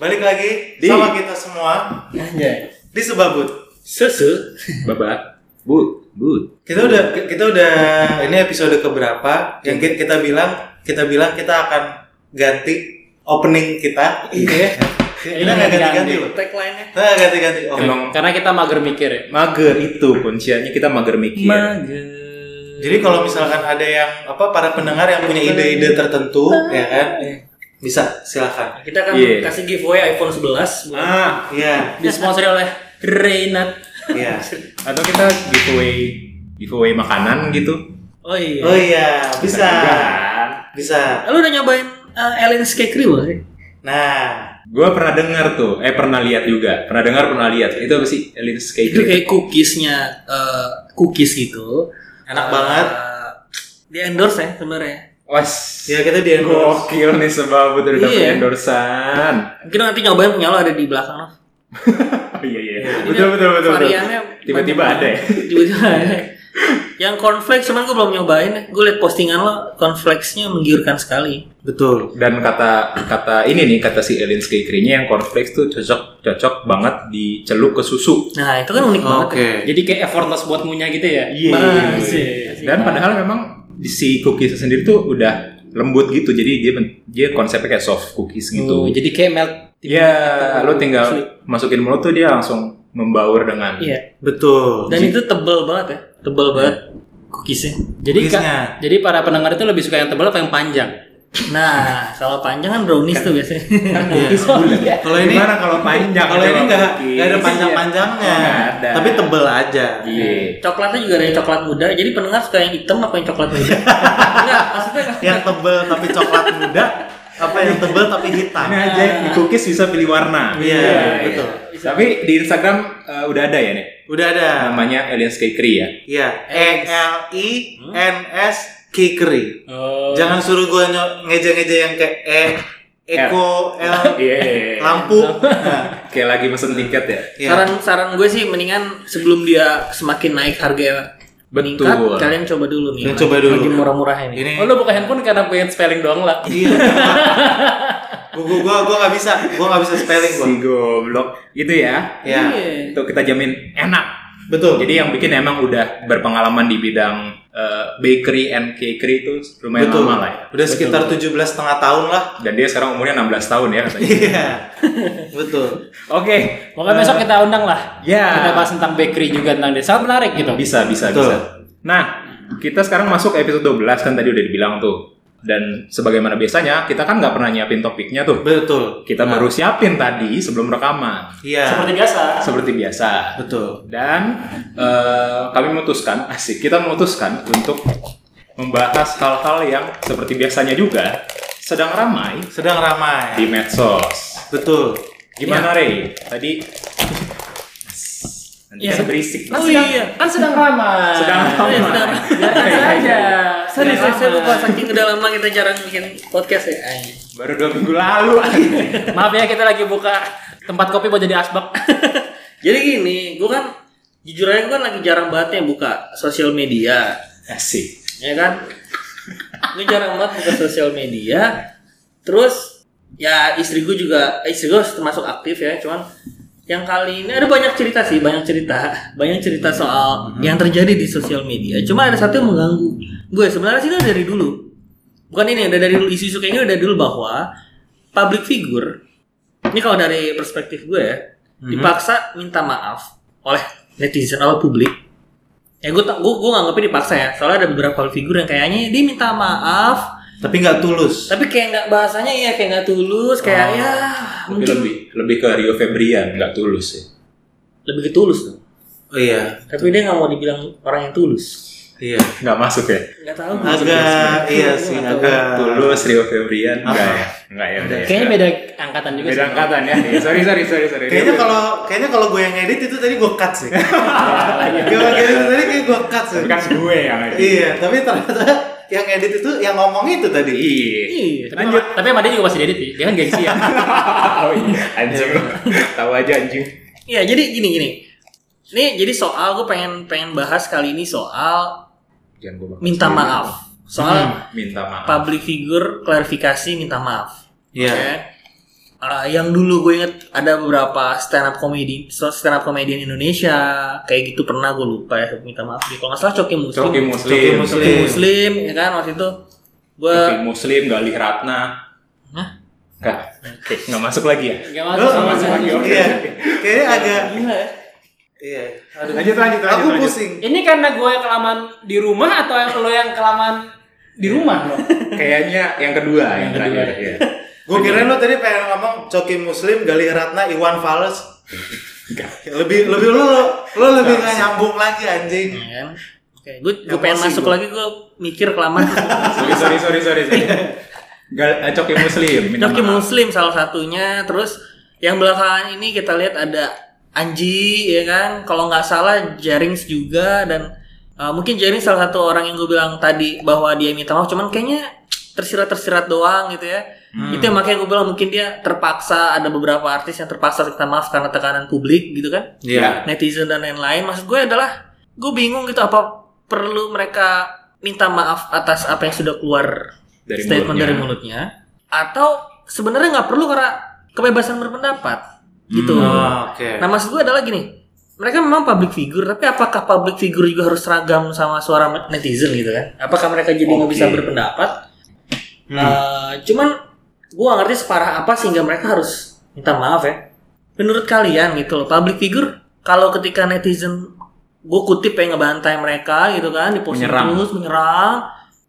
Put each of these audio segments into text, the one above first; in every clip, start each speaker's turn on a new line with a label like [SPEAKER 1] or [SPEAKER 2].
[SPEAKER 1] Balik lagi
[SPEAKER 2] Di-
[SPEAKER 1] sama kita semua
[SPEAKER 2] Anjay.
[SPEAKER 1] di Sebabut.
[SPEAKER 2] Susu. Babat. Bu. Bu.
[SPEAKER 1] Kita udah kita udah ini episode keberapa yang ki- kita bilang kita bilang kita akan ganti opening kita. Iya. kita nggak ganti-ganti loh.
[SPEAKER 2] Tagline-nya.
[SPEAKER 1] Kita nggak ganti-ganti. opening.
[SPEAKER 2] Emang
[SPEAKER 3] Karena kita mager mikir ya.
[SPEAKER 2] mager itu kunciannya kita mager
[SPEAKER 4] Iya.
[SPEAKER 2] mikir.
[SPEAKER 3] Mager.
[SPEAKER 1] Jadi kalau misalkan ada yang apa para pendengar yang punya ide-ide tertentu ya kan bisa silakan.
[SPEAKER 4] Kita akan
[SPEAKER 2] Iya.
[SPEAKER 4] kasih giveaway iPhone 11 buat
[SPEAKER 2] ah,
[SPEAKER 1] Iya.
[SPEAKER 3] Disponsori oleh Reynat.
[SPEAKER 1] Iya.
[SPEAKER 2] atau kita giveaway giveaway makanan gitu. Kan?
[SPEAKER 4] Oh iya.
[SPEAKER 1] Oh iya, bisa.
[SPEAKER 2] Juga.
[SPEAKER 1] Bisa.
[SPEAKER 4] Lu udah nyobain uh, Ellen Skekri belum sih?
[SPEAKER 1] Nah,
[SPEAKER 2] Gua pernah dengar tuh, eh pernah lihat juga. Pernah dengar, pernah lihat. Itu apa sih? Elite
[SPEAKER 4] Itu
[SPEAKER 2] Skater.
[SPEAKER 4] kayak cookiesnya uh, cookies gitu.
[SPEAKER 1] enak
[SPEAKER 4] Uh,
[SPEAKER 1] banget.
[SPEAKER 4] Di endorse ya sebenarnya.
[SPEAKER 2] Was.
[SPEAKER 1] Ya kita di endorse.
[SPEAKER 2] Gokil nih sebab udah dapet
[SPEAKER 4] Iya.
[SPEAKER 2] endorsean.
[SPEAKER 4] Mungkin nanti nyobain punya lo ada di belakang lo.
[SPEAKER 2] Oh iya iya.
[SPEAKER 4] Jadi
[SPEAKER 2] Betul betul betul. betul.
[SPEAKER 4] variannya
[SPEAKER 2] Tiba-tiba
[SPEAKER 4] banyak
[SPEAKER 2] ada ya.
[SPEAKER 4] banget. Tiba-tiba ada. Yang cornflakes cuman gue belum nyobain deh. Gue liat postingan lo cornflakesnya menggiurkan sekali.
[SPEAKER 1] Betul.
[SPEAKER 2] dan kata kata ini nih kata si Elin Skikrinya yang cornflakes tuh cocok cocok banget dicelup ke susu.
[SPEAKER 4] Nah itu kan unik banget. ya.
[SPEAKER 3] Jadi kayak effortless buat munya gitu ya.
[SPEAKER 4] gitu. Masih.
[SPEAKER 2] Dan padahal memang si cookies sendiri tuh udah lembut gitu. Jadi dia ben- dia konsepnya kayak soft cookies
[SPEAKER 3] Gitu.
[SPEAKER 2] gitu.
[SPEAKER 4] Oh,
[SPEAKER 3] Jadi kayak melt.
[SPEAKER 2] Ya, lo
[SPEAKER 3] Sulit.
[SPEAKER 2] tinggal masukin mulut tuh dia langsung membaur dengan
[SPEAKER 4] Iya.
[SPEAKER 1] Betul.
[SPEAKER 4] Dan itu tebel banget ya. Tebel banget cookiesnya.
[SPEAKER 3] Jadi ka-
[SPEAKER 1] Cookiesnya.
[SPEAKER 3] jadi para pendengar itu lebih suka yang tebal atau yang panjang?
[SPEAKER 4] Nah, kalau panjang kan brownies tuh biasanya. Iya.
[SPEAKER 2] cookies
[SPEAKER 4] Oh,
[SPEAKER 2] bulat.
[SPEAKER 1] Iya. Kalau ini ya,
[SPEAKER 2] Gimana kalau panjang?
[SPEAKER 1] Kalau ini
[SPEAKER 2] Coba
[SPEAKER 1] nggak
[SPEAKER 2] cookies. Iya,
[SPEAKER 1] nggak ada panjang-panjangnya,
[SPEAKER 2] Nggak ada.
[SPEAKER 1] tapi tebel aja.
[SPEAKER 2] Iya.
[SPEAKER 4] Coklatnya juga ada yang coklat muda. Jadi pendengar suka yang hitam apa yang coklat muda? Enggak, maksudnya
[SPEAKER 1] Yang tebel tapi coklat muda, apa yang tebel tapi hitam?
[SPEAKER 2] Ini aja di cookies bisa pilih warna.
[SPEAKER 1] Iya,
[SPEAKER 2] Iya.
[SPEAKER 1] betul.
[SPEAKER 2] Tapi di Instagram eh, udah ada ya nih
[SPEAKER 1] Udah ada.
[SPEAKER 2] namanya Alien Bakery ya.
[SPEAKER 1] Iya. E L I N S Kikri.
[SPEAKER 3] Oh.
[SPEAKER 1] Jangan suruh gue ngeja-ngeja yang kayak E Eko L
[SPEAKER 2] Iya.
[SPEAKER 1] lampu. Nah,
[SPEAKER 2] Kayak lagi mesen tiket ya.
[SPEAKER 1] iya.
[SPEAKER 4] Saran saran gue sih mendingan sebelum dia semakin naik harga ya,
[SPEAKER 2] Betul.
[SPEAKER 4] meningkat, kalian coba dulu nih.
[SPEAKER 1] Kalian coba dulu.
[SPEAKER 4] Lagi murah-murah ini.
[SPEAKER 1] Ini
[SPEAKER 3] Oh lu buka handphone karena pengen spelling doang lah.
[SPEAKER 1] iya. Gue gue gue nggak bisa, gue nggak bisa spelling gue.
[SPEAKER 2] Si goblok gitu ya.
[SPEAKER 1] Iya.
[SPEAKER 4] Iya.
[SPEAKER 2] Itu kita jamin enak.
[SPEAKER 1] Betul.
[SPEAKER 2] Jadi yang bikin emang udah berpengalaman di bidang eh, bakery and cakery itu lumayan
[SPEAKER 1] Betul.
[SPEAKER 2] lama lah ya.
[SPEAKER 1] Udah sekitar 17 setengah tahun lah.
[SPEAKER 2] Dan dia sekarang umurnya 16 tahun ya katanya.
[SPEAKER 1] Iya. Betul.
[SPEAKER 2] Oke.
[SPEAKER 3] Maka besok kita undang lah.
[SPEAKER 1] Iya.
[SPEAKER 2] Ya.
[SPEAKER 3] Kita bahas tentang bakery juga tentang dia. Sangat menarik gitu.
[SPEAKER 2] Bisa, bisa,
[SPEAKER 1] Betul.
[SPEAKER 2] bisa. Nah, kita sekarang masuk episode 12 kan tadi udah dibilang tuh. Dan sebagaimana biasanya, kita kan nggak pernah nyiapin topiknya tuh.
[SPEAKER 1] Betul. Nah.
[SPEAKER 2] Kita baru siapin tadi sebelum rekaman,
[SPEAKER 1] Iya.
[SPEAKER 3] Seperti biasa.
[SPEAKER 2] seperti biasa.
[SPEAKER 1] Betul.
[SPEAKER 2] Dan eh, kami memutuskan, asik, kita memutuskan untuk membahas hal-hal yang seperti biasanya juga sedang ramai
[SPEAKER 1] Sedang ramai.
[SPEAKER 2] di medsos.
[SPEAKER 1] Betul.
[SPEAKER 4] Ya.
[SPEAKER 2] Gimana Rey? Tadi nanti
[SPEAKER 4] Iya.
[SPEAKER 2] kan berisik.
[SPEAKER 4] Oh iya.
[SPEAKER 3] Kan sedang ramai.
[SPEAKER 2] Sedang ramai.
[SPEAKER 4] Iya, sedang ramai.
[SPEAKER 3] Biasa aja.
[SPEAKER 4] Sorry,
[SPEAKER 3] Sedang
[SPEAKER 4] sorry, saya lupa
[SPEAKER 3] ramai.
[SPEAKER 4] saking udah lama kita jarang bikin podcast ya. Ay.
[SPEAKER 2] Baru dua minggu lalu.
[SPEAKER 3] Maaf ya kita lagi buka tempat kopi buat jadi asbak.
[SPEAKER 4] Jadi gini, gue kan jujur aja gue kan lagi jarang banget yang buka sosial media,
[SPEAKER 2] asik.
[SPEAKER 4] ya kan? gue jarang banget buka sosial media. Terus ya istri gue juga, eh, istri gue termasuk aktif ya, cuman yang kali ini ada banyak cerita sih, banyak cerita, banyak cerita soal yang terjadi di sosial media. Cuma ada satu yang mengganggu gue. Sebenarnya sih itu dari dulu, bukan ini, ada dari dulu isu-isu kayaknya udah dulu bahwa public figure ini kalau dari perspektif gue ya dipaksa minta maaf oleh netizen oleh publik ya gue tak- gue gue nganggepnya dipaksa ya soalnya ada beberapa figur yang kayaknya dia minta maaf
[SPEAKER 1] Tapi nggak tulus.
[SPEAKER 4] tapi kayak nggak bahasanya ya kayak nggak tulus kayak
[SPEAKER 2] Ah,
[SPEAKER 4] ya
[SPEAKER 2] Tapi
[SPEAKER 4] mungkin
[SPEAKER 2] lebih lebih ke Rio Febrian nggak tulus ya.
[SPEAKER 4] lebih ke tulus tuh
[SPEAKER 1] Oh iya.
[SPEAKER 4] tapi dia nggak mau dibilang orang yang tulus
[SPEAKER 1] Iya.
[SPEAKER 2] Nggak masuk ya.
[SPEAKER 4] nggak tahu gue.
[SPEAKER 1] Agak iya sih agak
[SPEAKER 2] Tulus Rio Febrian nggak
[SPEAKER 1] Ah.
[SPEAKER 2] ya. Nggak ya. udah ya.
[SPEAKER 3] Kayaknya beda angkatan juga.
[SPEAKER 2] Beda
[SPEAKER 3] sih.
[SPEAKER 2] angkatan ya. Iya, Sorry sorry sorry sorry.
[SPEAKER 1] Kayaknya kalau kayaknya kalau gue yang edit itu tadi gue cut sih. Gue edit tadi kayak gue cut sih.
[SPEAKER 2] Tapi kan gue yang lagi.
[SPEAKER 1] Iya, tapi ternyata yang edit itu yang ngomong itu tadi.
[SPEAKER 2] Iya.
[SPEAKER 4] Iya.
[SPEAKER 3] Tapi sama, tapi sama dia juga pasti edit sih. Dia kan gengsi ya.
[SPEAKER 2] Oh iya. Anjing lu. Tahu aja anjing.
[SPEAKER 4] Iya, jadi gini gini. Ini jadi soal gue pengen pengen bahas kali ini soal
[SPEAKER 2] Jangan gue bakal
[SPEAKER 4] minta
[SPEAKER 2] sendiri.
[SPEAKER 4] maaf. Soal
[SPEAKER 2] Hmm. Minta maaf.
[SPEAKER 4] public figure klarifikasi minta maaf.
[SPEAKER 1] Iya.
[SPEAKER 4] Oke. eh, yang dulu gue inget ada beberapa stand up comedy stand up comedian Indonesia kayak gitu pernah gue lupa ya minta maaf deh kalau nggak salah Coki Muslim
[SPEAKER 2] Coki
[SPEAKER 1] Coki
[SPEAKER 2] Muslim,
[SPEAKER 1] Muslim.
[SPEAKER 4] Coki Muslim ya kan waktu itu gue
[SPEAKER 2] Coki Muslim, Galih Ratna.
[SPEAKER 4] Hah?
[SPEAKER 2] Nggak, nggak masuk lagi ya?
[SPEAKER 3] Gak
[SPEAKER 1] Lu
[SPEAKER 3] masuk sama
[SPEAKER 2] lagi,
[SPEAKER 3] sekali.
[SPEAKER 2] oke.
[SPEAKER 1] Iya. Kayaknya agak
[SPEAKER 4] gila ya
[SPEAKER 1] iya. Aduh.
[SPEAKER 2] Lanjut, lanjut, lanjut,
[SPEAKER 1] Aku
[SPEAKER 2] lanjut.
[SPEAKER 1] pusing.
[SPEAKER 3] Ini karena gue yang kelamaan di rumah atau yang lo yang kelamaan di rumah lo?
[SPEAKER 2] Kayaknya yang kedua, yang,
[SPEAKER 3] kedua.
[SPEAKER 2] terakhir. Iya.
[SPEAKER 1] Gue kira lu tadi pengen ngomong Coki Muslim, Galih Ratna, Iwan Fals. lebih lebih lu lu, lu lebih nggak nyambung lagi anjing.
[SPEAKER 4] Ya kan Oke, gue gue
[SPEAKER 1] Emosi
[SPEAKER 4] pengen masuk
[SPEAKER 1] gua.
[SPEAKER 4] lagi gue mikir kelamaan
[SPEAKER 2] sorry, sorry, sorry, sorry. sorry. Gal, eh, Coki Muslim. minta
[SPEAKER 4] Coki
[SPEAKER 2] maaf.
[SPEAKER 4] Muslim salah satunya terus yang belakangan ini kita lihat ada Anji ya kan kalau nggak salah Jarings juga dan uh, mungkin Jarings salah satu orang yang gue bilang tadi bahwa dia minta maaf cuman kayaknya tersirat-tersirat doang gitu ya
[SPEAKER 2] Hmm.
[SPEAKER 4] itu yang makanya gue bilang mungkin dia terpaksa ada beberapa artis yang terpaksa minta maaf karena tekanan publik gitu kan
[SPEAKER 2] Iya.
[SPEAKER 4] netizen dan lain-lain. Maksud gue adalah gue bingung gitu apa perlu mereka minta maaf atas apa yang sudah keluar
[SPEAKER 2] Dari
[SPEAKER 4] statement
[SPEAKER 2] mulutnya.
[SPEAKER 4] dari mulutnya atau sebenarnya nggak perlu karena kebebasan berpendapat gitu.
[SPEAKER 1] Oh, Oke.
[SPEAKER 4] Nah maksud gue adalah gini, mereka memang public figure tapi apakah public figure juga harus seragam sama suara netizen gitu kan? Apakah mereka jadi nggak
[SPEAKER 2] Oke.
[SPEAKER 4] bisa berpendapat? Eh, cuman gue gak ngerti separah apa sehingga mereka harus minta maaf ya. Menurut kalian gitu loh, public figure kalau ketika netizen gue kutip pengen ngebantai mereka gitu kan di posting
[SPEAKER 2] Menyerang.
[SPEAKER 4] terus menyerang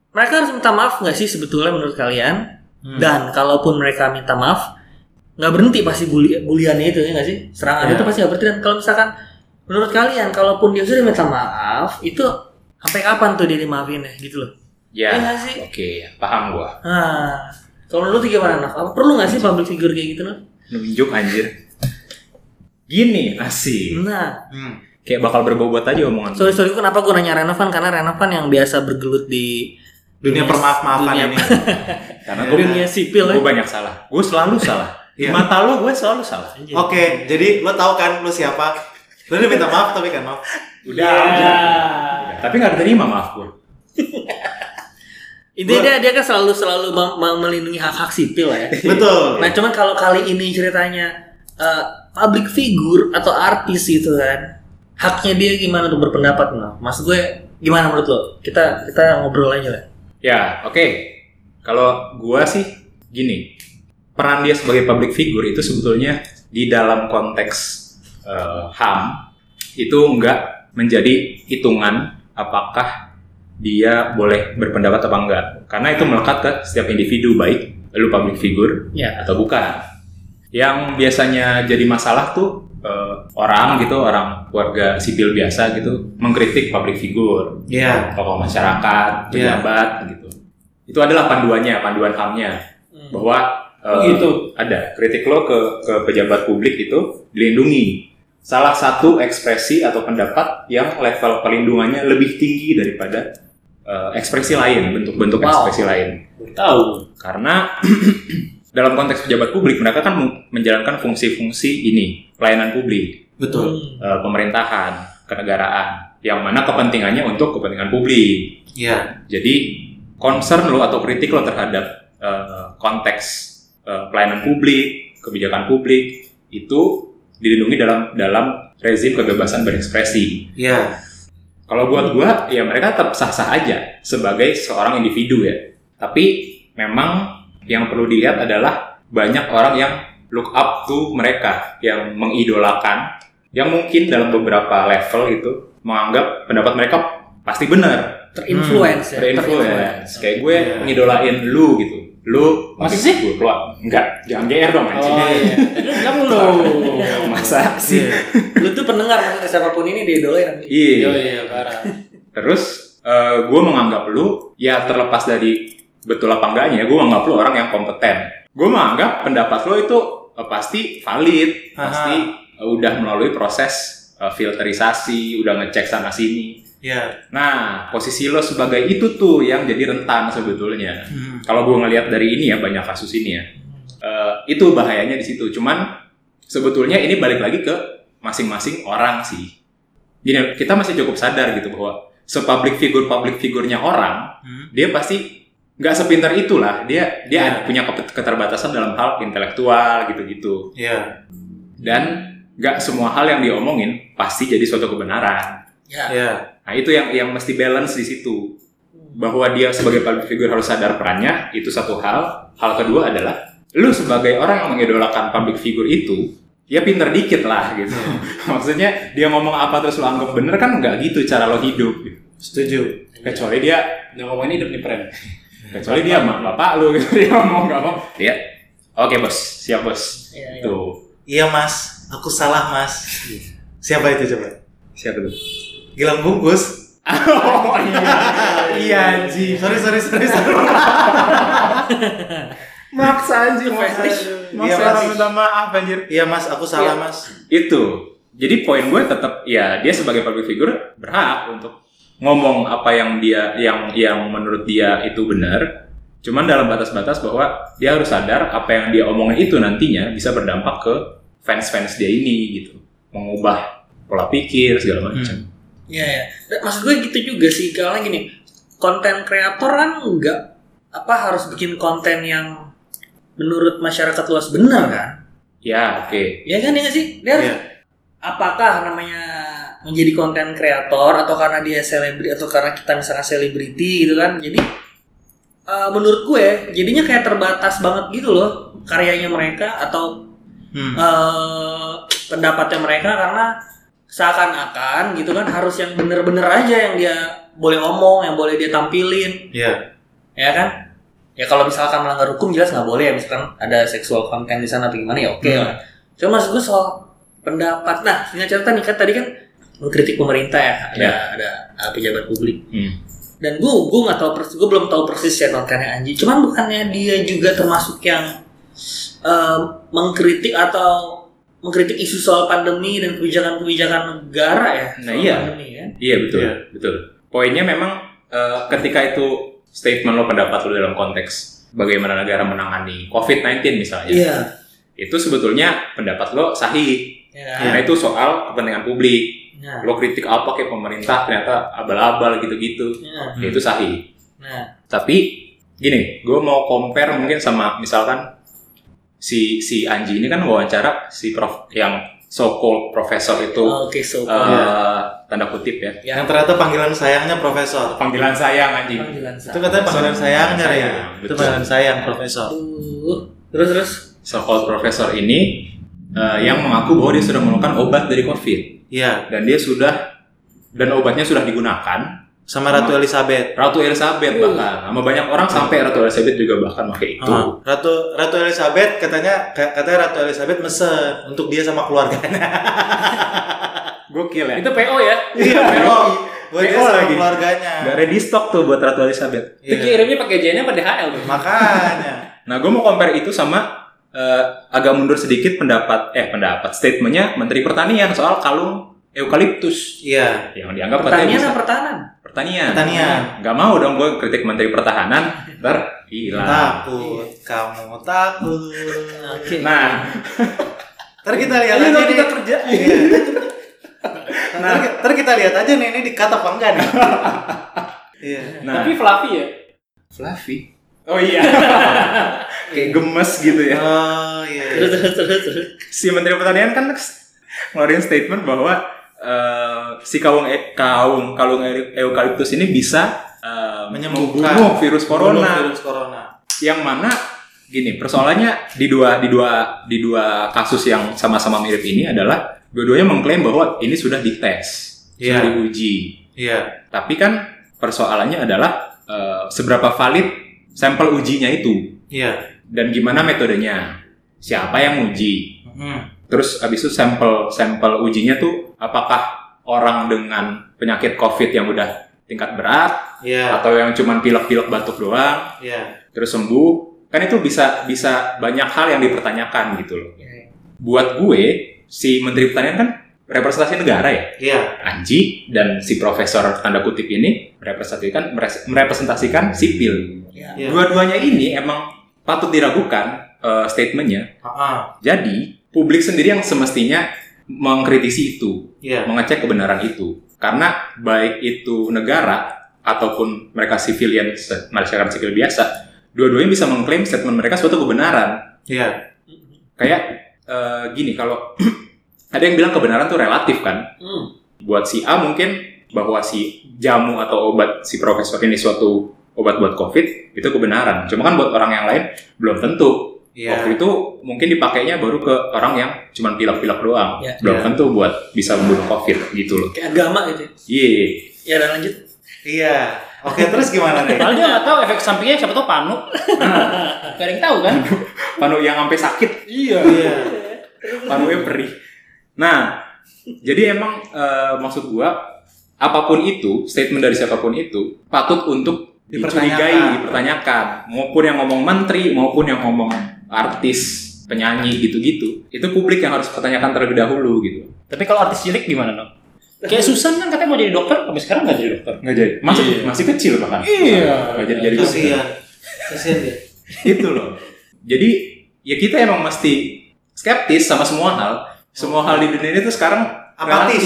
[SPEAKER 4] mereka harus minta maaf nggak sih sebetulnya menurut kalian dan kalaupun mereka minta maaf nggak berhenti pasti bully buliannya itu ya nggak sih
[SPEAKER 2] Ya.
[SPEAKER 4] serangan itu pasti nggak berhenti dan kalau misalkan menurut kalian kalaupun dia sudah minta maaf itu sampai kapan tuh dia dimaafinnya gitu loh
[SPEAKER 2] Ya.
[SPEAKER 4] Iya nggak sih?
[SPEAKER 2] Oke, paham gua.
[SPEAKER 4] Nah, kalau lu tuh gimana Nov? Apa perlu nggak sih public figure kayak gitu Nov?
[SPEAKER 2] Nunjuk anjir. Gini, asik.
[SPEAKER 4] Nah,
[SPEAKER 1] Hmm.
[SPEAKER 2] Kayak bakal berbobot aja omongan.
[SPEAKER 4] sorry sorry kenapa gue nanya Renovan karena Renovan yang biasa bergelut di
[SPEAKER 1] Dunia permaaf-maafan
[SPEAKER 4] dunia-
[SPEAKER 1] ini.
[SPEAKER 2] Karena gua,
[SPEAKER 4] dunia sipil ya.
[SPEAKER 2] gua banyak salah. Gua selalu salah. Di
[SPEAKER 1] Iya.
[SPEAKER 2] mata lu gua selalu salah.
[SPEAKER 1] Oke, jadi lo tahu kan lo siapa? Lo udah minta maaf tapi kan maaf.
[SPEAKER 2] Udah, udah. Udah. Iya. Tapi nggak diterima maaf gua.
[SPEAKER 4] Intinya dia, dia kan selalu selalu mem- mem- melindungi hak hak sipil lah ya.
[SPEAKER 1] Betul.
[SPEAKER 4] Nah cuman kalau kali ini ceritanya eh, public figure atau artis gitu kan haknya dia gimana untuk berpendapat Nov? Mas gue gimana menurut lo? Kita kita ngobrol aja lah.
[SPEAKER 2] Ya, oke. Kalau gua sih gini, peran dia sebagai public figure itu sebetulnya di dalam konteks eh, HAM itu enggak menjadi hitungan apakah dia boleh berpendapat apa enggak. Karena itu melekat ke setiap individu baik lu public figure
[SPEAKER 4] Ya.
[SPEAKER 2] atau bukan. Yang biasanya jadi masalah tuh eh, orang gitu, orang warga sipil biasa gitu mengkritik public figure
[SPEAKER 1] Iya.
[SPEAKER 2] tokoh masyarakat,
[SPEAKER 1] Iya.
[SPEAKER 2] pejabat gitu. Itu adalah panduannya, panduan hamnya bahwa
[SPEAKER 3] Oh,
[SPEAKER 2] eh,
[SPEAKER 3] gitu.
[SPEAKER 2] ada kritik lo ke ke pejabat publik itu dilindungi. Salah satu ekspresi atau pendapat yang level pelindungannya lebih tinggi daripada eh, ekspresi lain, bentuk-bentuk
[SPEAKER 4] Wow.
[SPEAKER 2] ekspresi lain.
[SPEAKER 3] Tahu.
[SPEAKER 2] Karena dalam konteks pejabat publik mereka kan mu- menjalankan fungsi-fungsi ini, pelayanan publik
[SPEAKER 1] Betul.
[SPEAKER 4] Hmm.
[SPEAKER 2] eh, pemerintahan, kenegaraan, yang mana kepentingannya untuk kepentingan publik.
[SPEAKER 1] Iya.
[SPEAKER 2] Jadi concern lo atau kritik lo terhadap eh, konteks eh, pelayanan publik, kebijakan publik itu dilindungi dalam dalam rezim kebebasan berekspresi.
[SPEAKER 1] Iya.
[SPEAKER 2] Kalau buat gua, ya mereka tetap sah-sah aja sebagai seorang individu ya. Tapi memang yang perlu dilihat adalah banyak orang yang look up to mereka, yang mengidolakan, yang mungkin dalam beberapa level itu menganggap pendapat mereka pasti benar,
[SPEAKER 4] Terinfluence ya.
[SPEAKER 2] terinfluence. Kayak gue
[SPEAKER 1] Iya.
[SPEAKER 2] ngidolain lu gitu. Lu
[SPEAKER 3] Masa sih?
[SPEAKER 2] Gue keluar. Enggak, jangan GR dong anjing.
[SPEAKER 3] Oh iya. Terus kamu lo.
[SPEAKER 2] Masa sih?
[SPEAKER 1] Iya.
[SPEAKER 4] Lu tuh pendengar maksudnya siapapun ini dia doain.
[SPEAKER 3] Iya
[SPEAKER 2] Iya.
[SPEAKER 3] iya parah.
[SPEAKER 2] Terus eh, gue menganggap lu ya terlepas dari betul apa enggaknya, gue menganggap lu orang yang kompeten. Gue menganggap pendapat lu itu eh, pasti valid,
[SPEAKER 1] Aha.
[SPEAKER 2] pasti eh, udah melalui proses eh, filterisasi, udah ngecek sana sini.
[SPEAKER 1] Iya.
[SPEAKER 2] Nah, posisi lo sebagai itu tuh yang jadi rentan sebetulnya
[SPEAKER 1] Hmm.
[SPEAKER 2] kalau gue ngelihat dari ini ya banyak kasus ini ya Eh, itu bahayanya di situ cuman sebetulnya ini balik lagi ke masing-masing orang sih Gini, kita masih cukup sadar gitu bahwa sepublic figure public figurnya orang
[SPEAKER 1] Hmm.
[SPEAKER 2] dia pasti nggak sepintar itulah dia dia ada- punya kepet- keterbatasan dalam hal intelektual gitu-gitu
[SPEAKER 1] Iya.
[SPEAKER 2] dan nggak semua hal yang diomongin pasti jadi suatu kebenaran
[SPEAKER 4] Ya.
[SPEAKER 1] Iya.
[SPEAKER 2] nah itu yang yang mesti balance di situ bahwa dia sebagai public figure harus sadar perannya itu satu hal hal kedua adalah lu sebagai orang yang mengidolakan public figure itu ya pinter dikit lah gitu maksudnya dia ngomong apa terus lu anggap bener kan nggak gitu cara lo hidup gitu.
[SPEAKER 1] Setuju.
[SPEAKER 2] kecuali dia yang ngomong ini hidup nih pren kecuali dia mah bapak lu gitu dia ngomong nggak mau dia oke bos siap bos
[SPEAKER 4] Iya, iya.
[SPEAKER 2] tuh
[SPEAKER 1] Iya mas, aku salah mas. Siapa itu coba?
[SPEAKER 2] siapa tuh
[SPEAKER 1] Gilang Bungkus.
[SPEAKER 2] oh iya iya anjing
[SPEAKER 1] Sorry sorry sorry sorry.
[SPEAKER 2] maksa anjing
[SPEAKER 4] Fetish.
[SPEAKER 1] Iya, Mas.
[SPEAKER 2] maaf anjir
[SPEAKER 1] Iya mas, aku salah mas.
[SPEAKER 2] itu jadi poin gue tetap ya dia sebagai public figure berhak untuk ngomong apa yang dia yang yang menurut dia itu benar cuman dalam batas-batas bahwa dia harus sadar apa yang dia omongin itu nantinya bisa berdampak ke fans-fans dia ini gitu mengubah pola pikir segala macam
[SPEAKER 4] Iya ya. Dan Maksud gue gitu juga sih kalau gini, konten kreator kan nggak apa harus bikin konten yang menurut masyarakat luas benar kan?
[SPEAKER 2] ya oke
[SPEAKER 4] Ya kan ya nggak sih? Dia harus-
[SPEAKER 1] Iya.
[SPEAKER 4] apakah namanya menjadi konten kreator atau karena dia selebriti atau karena kita misalnya selebriti gitu kan? Jadi eh, menurut gue jadinya kayak terbatas banget gitu loh karyanya mereka atau
[SPEAKER 1] Hmm.
[SPEAKER 4] eh pendapatnya mereka karena seakan-akan gitu kan harus yang bener-bener aja yang dia boleh omong, yang boleh dia tampilin,
[SPEAKER 1] Iya.
[SPEAKER 4] ya kan? Ya kalau misalkan melanggar hukum jelas nggak boleh ya misalkan ada seksual konten di sana atau gimana ya oke
[SPEAKER 2] Hmm.
[SPEAKER 4] lah. Cuma maksud gue soal pendapat, nah singkat cerita nih kan tadi kan mengkritik pemerintah ya ada
[SPEAKER 2] Ya.
[SPEAKER 4] ada uh, pejabat publik
[SPEAKER 2] Hmm.
[SPEAKER 4] dan gue gue nggak tahu persis gue belum tahu persis ya kontennya Anji cuman bukannya dia juga termasuk yang eh, mengkritik atau mengkritik isu soal pandemi dan kebijakan-kebijakan negara ya
[SPEAKER 2] Nah,
[SPEAKER 4] soal
[SPEAKER 2] iya.
[SPEAKER 4] pandemi, ya?
[SPEAKER 2] Iya betul,
[SPEAKER 1] Iya.
[SPEAKER 2] betul. Poinnya memang eh, ketika itu statement lo pendapat lo dalam konteks bagaimana negara menangani COVID-19 misalnya,
[SPEAKER 4] iya
[SPEAKER 2] itu sebetulnya pendapat lo sahih.
[SPEAKER 4] ya kan?
[SPEAKER 2] Karena itu soal kepentingan publik.
[SPEAKER 4] nah
[SPEAKER 2] Lo kritik apa ke pemerintah ternyata abal-abal gitu-gitu,
[SPEAKER 4] nah
[SPEAKER 1] Hmm.
[SPEAKER 2] itu sahih.
[SPEAKER 4] nah
[SPEAKER 2] Tapi gini, gue mau compare mungkin sama misalkan si si Anji ini kan wawancara si prof yang so called profesor itu
[SPEAKER 4] oke
[SPEAKER 2] eh,
[SPEAKER 4] so
[SPEAKER 1] Iya.
[SPEAKER 2] tanda kutip ya
[SPEAKER 1] Yang ternyata panggilan sayangnya Profesor.
[SPEAKER 2] panggilan sayang Anji.
[SPEAKER 4] panggilan
[SPEAKER 1] Itu katanya panggilan sayangnya ya.
[SPEAKER 2] Sayang,
[SPEAKER 1] Itu
[SPEAKER 2] betul.
[SPEAKER 1] panggilan sayang Profesor.
[SPEAKER 4] Aduh. terus terus
[SPEAKER 2] so-called profesor ini eh, yang mengaku bahwa dia sudah menemukan obat dari COVID
[SPEAKER 1] Iya.
[SPEAKER 2] dan dia sudah dan obatnya sudah digunakan
[SPEAKER 1] Sama Ratu Elizabeth.
[SPEAKER 2] Ratu Elizabeth bahkan sama banyak orang sampai Ratu Elizabeth juga bahkan pakai itu
[SPEAKER 1] Ah, Ratu Ratu Elizabeth katanya ka- katanya Ratu Elizabeth mesen untuk dia sama keluarganya.
[SPEAKER 2] gokil ya
[SPEAKER 3] Itu PO ya?
[SPEAKER 1] Iya, memang. buat dia
[SPEAKER 2] PO
[SPEAKER 1] sama
[SPEAKER 2] lagi.
[SPEAKER 1] keluarganya.
[SPEAKER 2] nggak ready stock tuh buat Ratu Elizabeth
[SPEAKER 3] Itu
[SPEAKER 1] Iya.
[SPEAKER 3] kirimnya pakai JNE apa DHL tuh?
[SPEAKER 1] Makanya.
[SPEAKER 2] nah gue mau compare itu sama eh, agak mundur sedikit pendapat eh pendapat statementnya Menteri Pertanian soal kalung eukaliptus
[SPEAKER 1] Iya.
[SPEAKER 2] yang dianggap
[SPEAKER 4] pertanian
[SPEAKER 2] katanya
[SPEAKER 4] apa
[SPEAKER 2] bisa-
[SPEAKER 4] pertahanan
[SPEAKER 2] pertanian
[SPEAKER 1] Pertanian.
[SPEAKER 2] nggak mau dong gue kritik Menteri Pertahanan ntar hilang
[SPEAKER 1] Takut, kamu takut.
[SPEAKER 4] oke
[SPEAKER 2] nah
[SPEAKER 1] Ntar kita lihat aja nih. Kita kerja. Nah, ntar kita lihat aja nih ini dikata apa enggak nih. Iya.
[SPEAKER 2] Nah,
[SPEAKER 3] Tapi Fluffy ya?
[SPEAKER 2] fluffy. Oh iya. Kayak gemes gitu ya.
[SPEAKER 1] Oh iya.
[SPEAKER 4] terus terus terus terus
[SPEAKER 2] Si Menteri Pertanian kan ngeluarin statement bahwa eh, si kalung e- kaung kalung e- eukaliptus ini bisa eh,
[SPEAKER 1] Menyembuhkan
[SPEAKER 2] membunuh virus corona.
[SPEAKER 1] Virus corona.
[SPEAKER 2] Yang mana gini, persoalannya di dua di dua di dua kasus yang sama-sama mirip ini adalah dua-duanya mengklaim bahwa ini sudah dites,
[SPEAKER 1] Iya.
[SPEAKER 2] sudah diuji.
[SPEAKER 1] Iya.
[SPEAKER 2] Tapi kan persoalannya adalah eh, seberapa valid sampel ujinya itu.
[SPEAKER 1] Iya.
[SPEAKER 2] dan gimana metodenya siapa yang uji
[SPEAKER 1] Hmm.
[SPEAKER 2] terus abis itu sampel sampel ujinya tuh apakah orang dengan penyakit covid yang udah tingkat berat
[SPEAKER 1] Iya.
[SPEAKER 2] atau yang cuman pilek-pilek batuk doang
[SPEAKER 1] Iya.
[SPEAKER 2] terus sembuh kan itu bisa bisa banyak hal yang dipertanyakan gitu loh buat gue si menteri pertanian kan representasi negara ya
[SPEAKER 1] Iya.
[SPEAKER 2] Anji dan si profesor tanda kutip ini merepresentasikan merepresentasikan sipil
[SPEAKER 4] ya
[SPEAKER 1] Iya.
[SPEAKER 2] dua-duanya ini emang patut diragukan eh, statementnya
[SPEAKER 1] Heeh.
[SPEAKER 2] Jadi, publik sendiri yang semestinya mengkritisi itu,
[SPEAKER 1] Iya.
[SPEAKER 2] mengecek kebenaran itu. Karena baik itu negara ataupun mereka civilian se- masyarakat sipil biasa, dua-duanya bisa mengklaim statement mereka suatu kebenaran.
[SPEAKER 1] Iya.
[SPEAKER 2] Kayak eh, gini kalau ada yang bilang kebenaran tuh relatif kan
[SPEAKER 4] Hmm.
[SPEAKER 2] buat si A mungkin bahwa si jamu atau obat si profesor ini suatu obat buat COVID itu kebenaran. Cuma kan buat orang yang lain belum tentu.
[SPEAKER 1] Iya.
[SPEAKER 2] Waktu itu mungkin dipakainya baru ke orang yang cuman pilak-pilak doang.
[SPEAKER 4] Ya.
[SPEAKER 2] belum
[SPEAKER 1] Ya.
[SPEAKER 2] tentu buat bisa membunuh COVID gitu loh.
[SPEAKER 4] Kayak agama gitu. ya.
[SPEAKER 2] Iya.
[SPEAKER 4] Ya dan lanjut.
[SPEAKER 1] Iya. Oke, terus gimana nih?
[SPEAKER 3] Padahal dia nggak tahu efek sampingnya siapa tahu panu. Gak ada yang tahu kan?
[SPEAKER 2] Panu yang sampai sakit,
[SPEAKER 3] Iya.
[SPEAKER 1] Iya.
[SPEAKER 2] panunya perih. Nah, jadi emang eh, maksud gua apapun itu statement dari siapapun itu patut untuk
[SPEAKER 1] Dipertanyakan.
[SPEAKER 2] dicurigai, dipertanyakan. Maupun yang ngomong menteri, maupun yang ngomong artis, penyanyi gitu-gitu. Itu publik yang harus pertanyakan terlebih dahulu gitu.
[SPEAKER 3] Tapi kalau artis cilik gimana, Nok? Kayak Susan kan katanya mau jadi dokter, tapi sekarang nggak jadi dokter.
[SPEAKER 2] Nggak jadi. Masih
[SPEAKER 3] Iya.
[SPEAKER 2] masih kecil bahkan.
[SPEAKER 3] Iya.
[SPEAKER 2] Nggak jadi jadi dokter.
[SPEAKER 1] Kasihan. Kasihan dia.
[SPEAKER 2] itu Gitu loh jadi ya kita emang mesti skeptis sama semua hal semua hal di dunia ini tuh sekarang
[SPEAKER 1] Apatis.
[SPEAKER 2] relatif.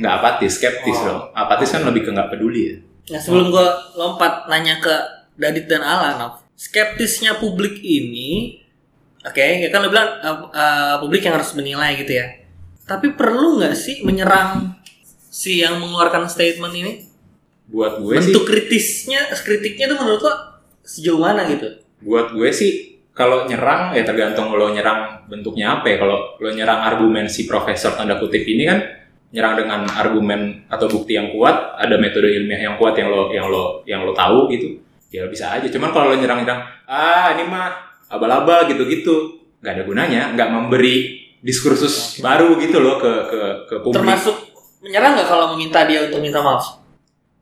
[SPEAKER 2] nggak apatis skeptis
[SPEAKER 1] Oh.
[SPEAKER 2] loh apatis kan lebih ke nggak peduli ya
[SPEAKER 4] Nah sebelum gue lompat nanya ke Dadit dan Alan, Nov. skeptisnya publik ini, oke, ya kan lo bilang eh, eh, publik yang harus menilai gitu ya. Tapi perlu nggak sih menyerang si yang mengeluarkan statement ini?
[SPEAKER 2] buat gue sih
[SPEAKER 4] Bentuk kritisnya, kritiknya tuh menurut lo sejauh mana gitu?
[SPEAKER 2] buat gue sih kalau nyerang ya tergantung lo nyerang bentuknya apa ya kalau lo nyerang argumen si profesor tanda kutip ini kan nyerang dengan argumen atau bukti yang kuat ada metode ilmiah yang kuat yang lo yang lo yang lo tahu gitu ya bisa aja cuman kalau lo nyerang nyerang ah ini mah abal-abal gitu-gitu nggak ada gunanya nggak memberi diskursus baru gitu loh ke ke ke publik
[SPEAKER 4] Termasuk menyerang nggak kalau meminta dia untuk minta maaf?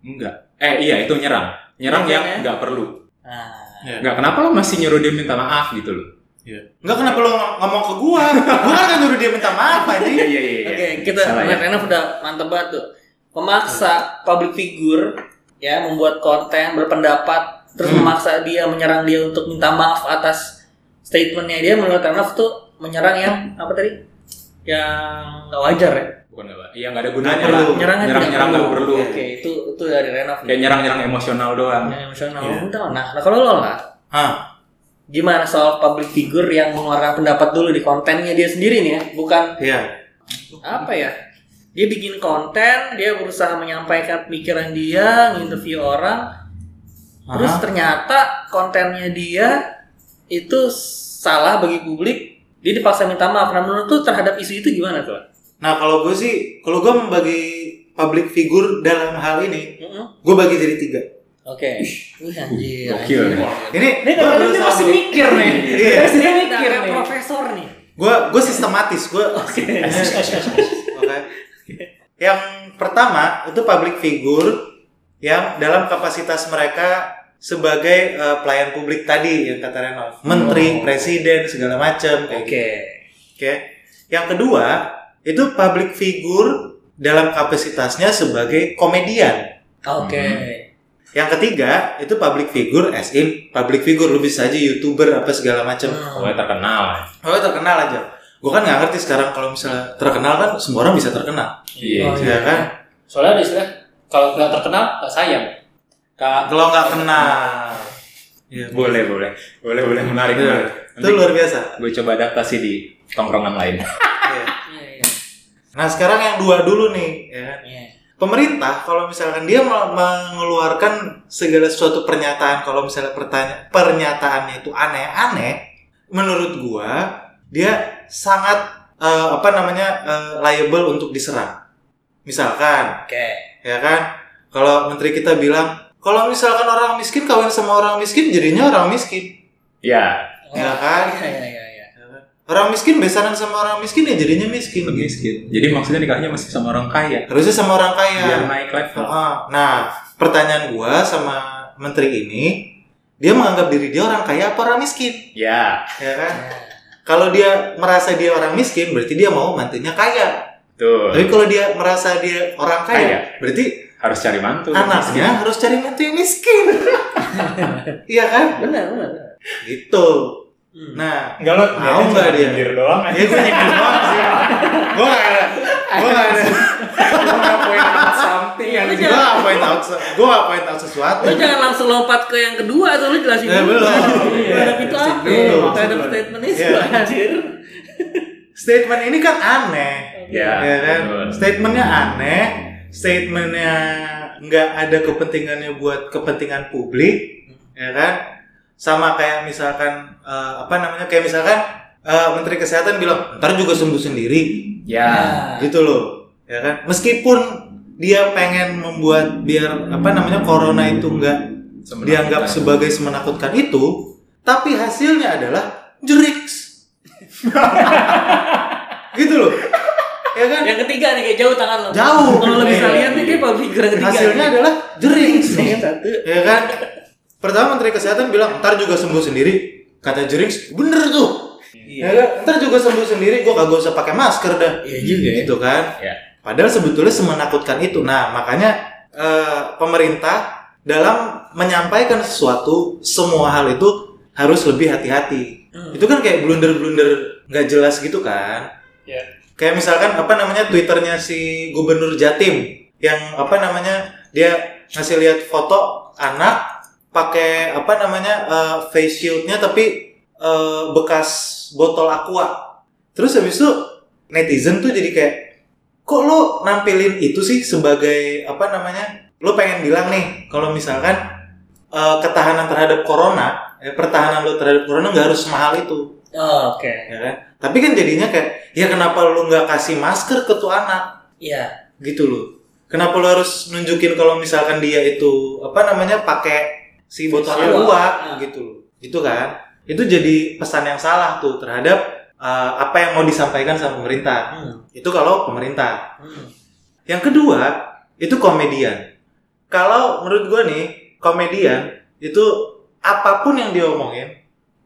[SPEAKER 2] enggak eh iya itu nyerang nyerang
[SPEAKER 4] Nyerang
[SPEAKER 2] yang
[SPEAKER 4] ya?
[SPEAKER 2] nggak perlu
[SPEAKER 4] Nah,
[SPEAKER 2] nggak kenapa lo masih nyuruh dia minta maaf gitu loh
[SPEAKER 1] Enggak kenapa lo ng- ngomong ke gua? Gua kan nyuruh dia minta maaf anjing.
[SPEAKER 2] iya iya iya
[SPEAKER 4] Oke,
[SPEAKER 2] iya.
[SPEAKER 4] kita
[SPEAKER 2] Salah ya.
[SPEAKER 4] Matt Renov udah mantep banget tuh. Memaksa public figure ya membuat konten berpendapat terus
[SPEAKER 2] Hmm.
[SPEAKER 4] memaksa dia menyerang dia untuk minta maaf atas statementnya dia menurut Renov tuh menyerang yang apa tadi? Yang nggak wajar ya.
[SPEAKER 2] bukan nggak iya nggak ada gunanya
[SPEAKER 1] Nggak
[SPEAKER 2] lah
[SPEAKER 1] perlu.
[SPEAKER 4] Menyerang yang
[SPEAKER 2] nyerang
[SPEAKER 4] tidak
[SPEAKER 2] nyerang nggak perlu
[SPEAKER 4] Oke, itu itu dari Renov.
[SPEAKER 2] kayak gitu. nyerang nyerang emosional doang
[SPEAKER 4] Yang emosional.
[SPEAKER 1] Iya.
[SPEAKER 4] Udah, Nah, nah kalau lo lah
[SPEAKER 1] Hah.
[SPEAKER 4] gimana soal public figure yang mengeluarkan pendapat dulu di kontennya dia sendiri nih ya, bukan
[SPEAKER 1] Iya.
[SPEAKER 4] apa ya dia bikin konten dia berusaha menyampaikan pikiran dia nginterview orang terus
[SPEAKER 1] Aha.
[SPEAKER 4] ternyata kontennya dia itu salah bagi publik dia dipaksa minta maaf nah menurut tuh terhadap isu itu gimana tuh
[SPEAKER 1] Nah, kalau gua sih, kalau gua membagi public figure dalam hal ini,
[SPEAKER 4] Mm-mm.
[SPEAKER 1] gua bagi jadi tiga.
[SPEAKER 4] oke Wih, anjir
[SPEAKER 2] gokil.
[SPEAKER 1] Ini
[SPEAKER 3] Ini
[SPEAKER 1] gua
[SPEAKER 3] dari dia
[SPEAKER 1] berusaha
[SPEAKER 3] masih
[SPEAKER 1] bikin-
[SPEAKER 3] mikir nih.
[SPEAKER 1] Iya.
[SPEAKER 3] Dia masih
[SPEAKER 4] Ini
[SPEAKER 3] mikir
[SPEAKER 4] ada
[SPEAKER 3] nih.
[SPEAKER 4] profesor nih
[SPEAKER 1] Gua gua sistematis, gua Oke. Yang pertama itu public figure yang dalam kapasitas mereka sebagai eh, pelayan publik tadi yang kata Renov, menteri, presiden, segala macam kayak gitu.
[SPEAKER 4] oke
[SPEAKER 1] Oke. Yang kedua itu public figure dalam kapasitasnya sebagai komedian.
[SPEAKER 4] oke
[SPEAKER 1] Yang ketiga itu public figure as in public figure lu bisa aja youtuber apa segala macam.
[SPEAKER 4] Ah.
[SPEAKER 2] gue terkenal
[SPEAKER 1] Oh terkenal aja. Gue kan nggak ngerti sekarang kalau misalnya terkenal kan semua orang bisa terkenal,
[SPEAKER 2] iya
[SPEAKER 4] Oh,
[SPEAKER 1] ya kan?
[SPEAKER 3] Soalnya ada istilah kalau nggak terkenal nggak sayang.
[SPEAKER 2] Kak,
[SPEAKER 1] Kalau nggak kenal, ya,
[SPEAKER 2] boleh boleh boleh boleh menarik
[SPEAKER 1] Iya.
[SPEAKER 2] menarik.
[SPEAKER 1] itu luar biasa.
[SPEAKER 2] gue coba adaptasi di tongkrongan lain
[SPEAKER 1] Iya.
[SPEAKER 4] Iya, iya,
[SPEAKER 1] Nah sekarang yang dua dulu nih, ya kan?
[SPEAKER 4] iya.
[SPEAKER 1] pemerintah kalau misalkan dia mel- mengeluarkan segala sesuatu pernyataan kalau misalnya pertanya- pernyataannya itu aneh-aneh menurut gua dia sangat eh, apa namanya eh, liable untuk diserang misalkan
[SPEAKER 4] oke
[SPEAKER 1] ya kan kalau menteri kita bilang kalau misalkan orang miskin kawin sama orang miskin jadinya orang miskin
[SPEAKER 2] ya
[SPEAKER 1] Ya kan?
[SPEAKER 4] iya iya iya iya.
[SPEAKER 1] orang miskin besaran sama orang miskin ya jadinya miskin
[SPEAKER 2] miskin jadi maksudnya nikahnya masih sama orang kaya
[SPEAKER 1] harusnya sama orang kaya
[SPEAKER 2] biar naik level
[SPEAKER 1] Heeh. Nah, pertanyaan gua sama menteri ini, dia menganggap diri dia orang kaya apa orang miskin,
[SPEAKER 2] ya
[SPEAKER 1] ya kan? Kalau dia merasa dia orang miskin, berarti dia mau mantunya kaya.
[SPEAKER 2] tuh
[SPEAKER 1] Tapi kalau dia merasa dia orang kaya,
[SPEAKER 2] Kaya.
[SPEAKER 1] berarti
[SPEAKER 2] harus cari mantu Iya.
[SPEAKER 1] anaknya harus cari mantu yang miskin. Iya kan?
[SPEAKER 4] benar benar
[SPEAKER 1] Gitu.
[SPEAKER 4] Hmm.
[SPEAKER 1] Nah,
[SPEAKER 2] enggak lo
[SPEAKER 1] Mau nggak dia?
[SPEAKER 2] doang
[SPEAKER 1] ya gue nyindir banget sih. Gue gak ada. Gue gak ada.
[SPEAKER 2] point out something yang
[SPEAKER 4] Iya, Lu
[SPEAKER 1] Gue
[SPEAKER 4] jangan-
[SPEAKER 1] gak point out. se- Gue gak point out sesuatu.
[SPEAKER 4] Lu jangan langsung lompat ke yang kedua atau lu jelasin
[SPEAKER 1] Eh,
[SPEAKER 4] dulu.
[SPEAKER 1] belum.
[SPEAKER 4] Lu Ada itu
[SPEAKER 1] Jelasin
[SPEAKER 4] apa?
[SPEAKER 1] dulu,
[SPEAKER 4] Lu Ada
[SPEAKER 1] maksud lu.
[SPEAKER 4] statement
[SPEAKER 1] Iya.
[SPEAKER 4] itu anjir.
[SPEAKER 1] Statement ini kan aneh.
[SPEAKER 4] Iya,
[SPEAKER 2] ya,
[SPEAKER 1] ya kan?
[SPEAKER 2] betul.
[SPEAKER 1] Statementnya aneh, statementnya nggak ada kepentingannya buat kepentingan publik,
[SPEAKER 4] Hmm.
[SPEAKER 1] ya kan? Sama kayak misalkan eh, apa namanya kayak misalkan eh, Menteri Kesehatan bilang ntar juga sembuh sendiri,
[SPEAKER 2] ya
[SPEAKER 1] gitu loh, ya kan? Meskipun dia pengen membuat biar apa namanya corona itu nggak
[SPEAKER 2] sebenarnya
[SPEAKER 1] dianggap
[SPEAKER 2] kita-
[SPEAKER 1] sebagai semenakutkan itu, tapi hasilnya adalah jeriks, gitu loh, ya kan?
[SPEAKER 4] Yang ketiga nih kayak jauh tangan lu.
[SPEAKER 1] Jauh.
[SPEAKER 4] Kalau lu bisa
[SPEAKER 1] Iya.
[SPEAKER 4] lihat nih dia public figure yang ketiga.
[SPEAKER 1] hasilnya adalah jering
[SPEAKER 4] Yang satu.
[SPEAKER 1] ya kan pertama menteri kesehatan bilang ntar juga sembuh sendiri kata jering bener tuh ya kan? ntar juga sembuh sendiri gua kagak usah pakai masker dah
[SPEAKER 4] Iya juga ya.
[SPEAKER 1] gitu kan
[SPEAKER 2] Ya.
[SPEAKER 1] padahal sebetulnya semenakutkan itu nah makanya eh, pemerintah dalam menyampaikan sesuatu semua hal itu harus lebih hati-hati
[SPEAKER 4] Hmm.
[SPEAKER 1] itu kan kayak blunder-blunder nggak jelas gitu kan
[SPEAKER 4] Iya.
[SPEAKER 1] kayak misalkan apa namanya twitternya si gubernur Jatim yang apa namanya dia ngasih lihat foto anak pakai apa namanya eh, face shieldnya tapi eh, bekas botol aqua terus habis itu netizen tuh jadi kayak kok lo nampilin itu sih sebagai apa namanya lo pengen bilang nih kalau misalkan eh, ketahanan terhadap corona eh, pertahanan lo terhadap corona nggak harus mahal itu
[SPEAKER 4] Oh, oke.
[SPEAKER 1] ya kan? Tapi kan jadinya kayak ya kenapa lu nggak kasih masker ke tuh anak
[SPEAKER 4] Iya.
[SPEAKER 1] gitu loh. Kenapa lu harus nunjukin kalau misalkan dia itu apa namanya pakai si botol
[SPEAKER 4] Siwa.
[SPEAKER 1] aqua
[SPEAKER 4] Ah.
[SPEAKER 1] gitu loh. Gitu kan? Itu jadi pesan yang salah tuh terhadap eh, apa yang mau disampaikan sama pemerintah.
[SPEAKER 4] Hmm.
[SPEAKER 1] Itu kalau pemerintah.
[SPEAKER 4] Hmm.
[SPEAKER 1] Yang kedua itu komedian. Kalau menurut gue nih komedian itu apapun yang diomongin,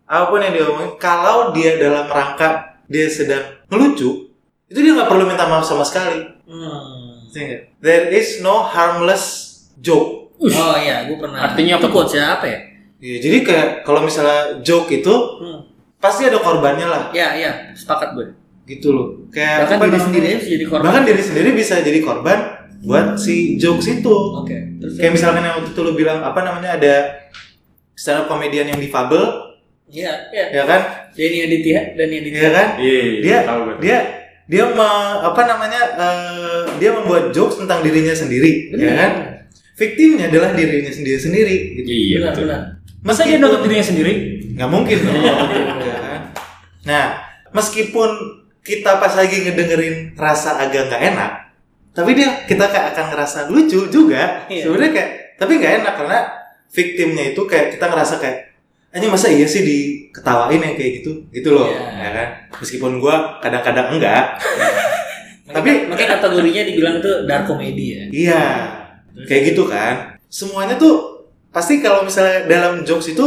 [SPEAKER 1] apapun yang diomongin, kalau dia dalam rangka dia sedang melucu, itu dia nggak perlu minta maaf sama sekali.
[SPEAKER 4] Hmm.
[SPEAKER 1] Ngerti nggak? There is no harmless joke.
[SPEAKER 4] Oh iya, gue pernah.
[SPEAKER 2] Artinya apa
[SPEAKER 4] Itu
[SPEAKER 2] tuh?
[SPEAKER 4] quotes apa ya?
[SPEAKER 1] Ya, jadi kayak kalau misalnya joke itu
[SPEAKER 4] Hmm.
[SPEAKER 1] pasti ada korbannya lah,
[SPEAKER 4] Ya, ya, sepakat gue.
[SPEAKER 1] gitu loh. Kayak
[SPEAKER 4] Bahkan
[SPEAKER 1] apa
[SPEAKER 4] diri
[SPEAKER 1] namanya?
[SPEAKER 4] sendiri aja bisa jadi korban.
[SPEAKER 1] Bahkan diri sendiri bisa jadi korban buat si jokes itu.
[SPEAKER 4] Oke. Terus
[SPEAKER 1] Kayak misalkan yang waktu itu lu bilang apa namanya ada stand up komedian yang difabel,
[SPEAKER 4] Iya, iya.
[SPEAKER 1] ya kan?
[SPEAKER 4] Denny Aditya, Denny Aditya.
[SPEAKER 1] Ya kan?
[SPEAKER 2] Iya, iya,
[SPEAKER 1] Dia
[SPEAKER 2] tahu gue.
[SPEAKER 1] dia dia me- apa namanya eh, dia membuat jokes tentang dirinya sendiri, ya kan? Viktimnya adalah dirinya sendiri sendiri. Gitu.
[SPEAKER 2] iya
[SPEAKER 4] Benar,
[SPEAKER 2] betul.
[SPEAKER 4] benar.
[SPEAKER 2] Masa dia nutup dirinya sendiri?
[SPEAKER 1] Nggak mungkin
[SPEAKER 4] Iya,
[SPEAKER 1] dong. ya kan? Nah, meskipun kita pas lagi ngedengerin rasa agak nggak enak, tapi dia kita kayak akan ngerasa lucu juga.
[SPEAKER 4] Iya.
[SPEAKER 1] Sebenarnya kayak tapi nggak enak karena victimnya itu kayak kita ngerasa kayak Anjing masa iya sih diketawain yang kayak gitu gitu loh ya
[SPEAKER 4] Iya.
[SPEAKER 1] kan meskipun gua kadang-kadang enggak Tapi-
[SPEAKER 4] Tapi makanya kategorinya dibilang tuh dark comedy ya.
[SPEAKER 1] iya kayak gitu kan semuanya tuh pasti kalau misalnya dalam jokes itu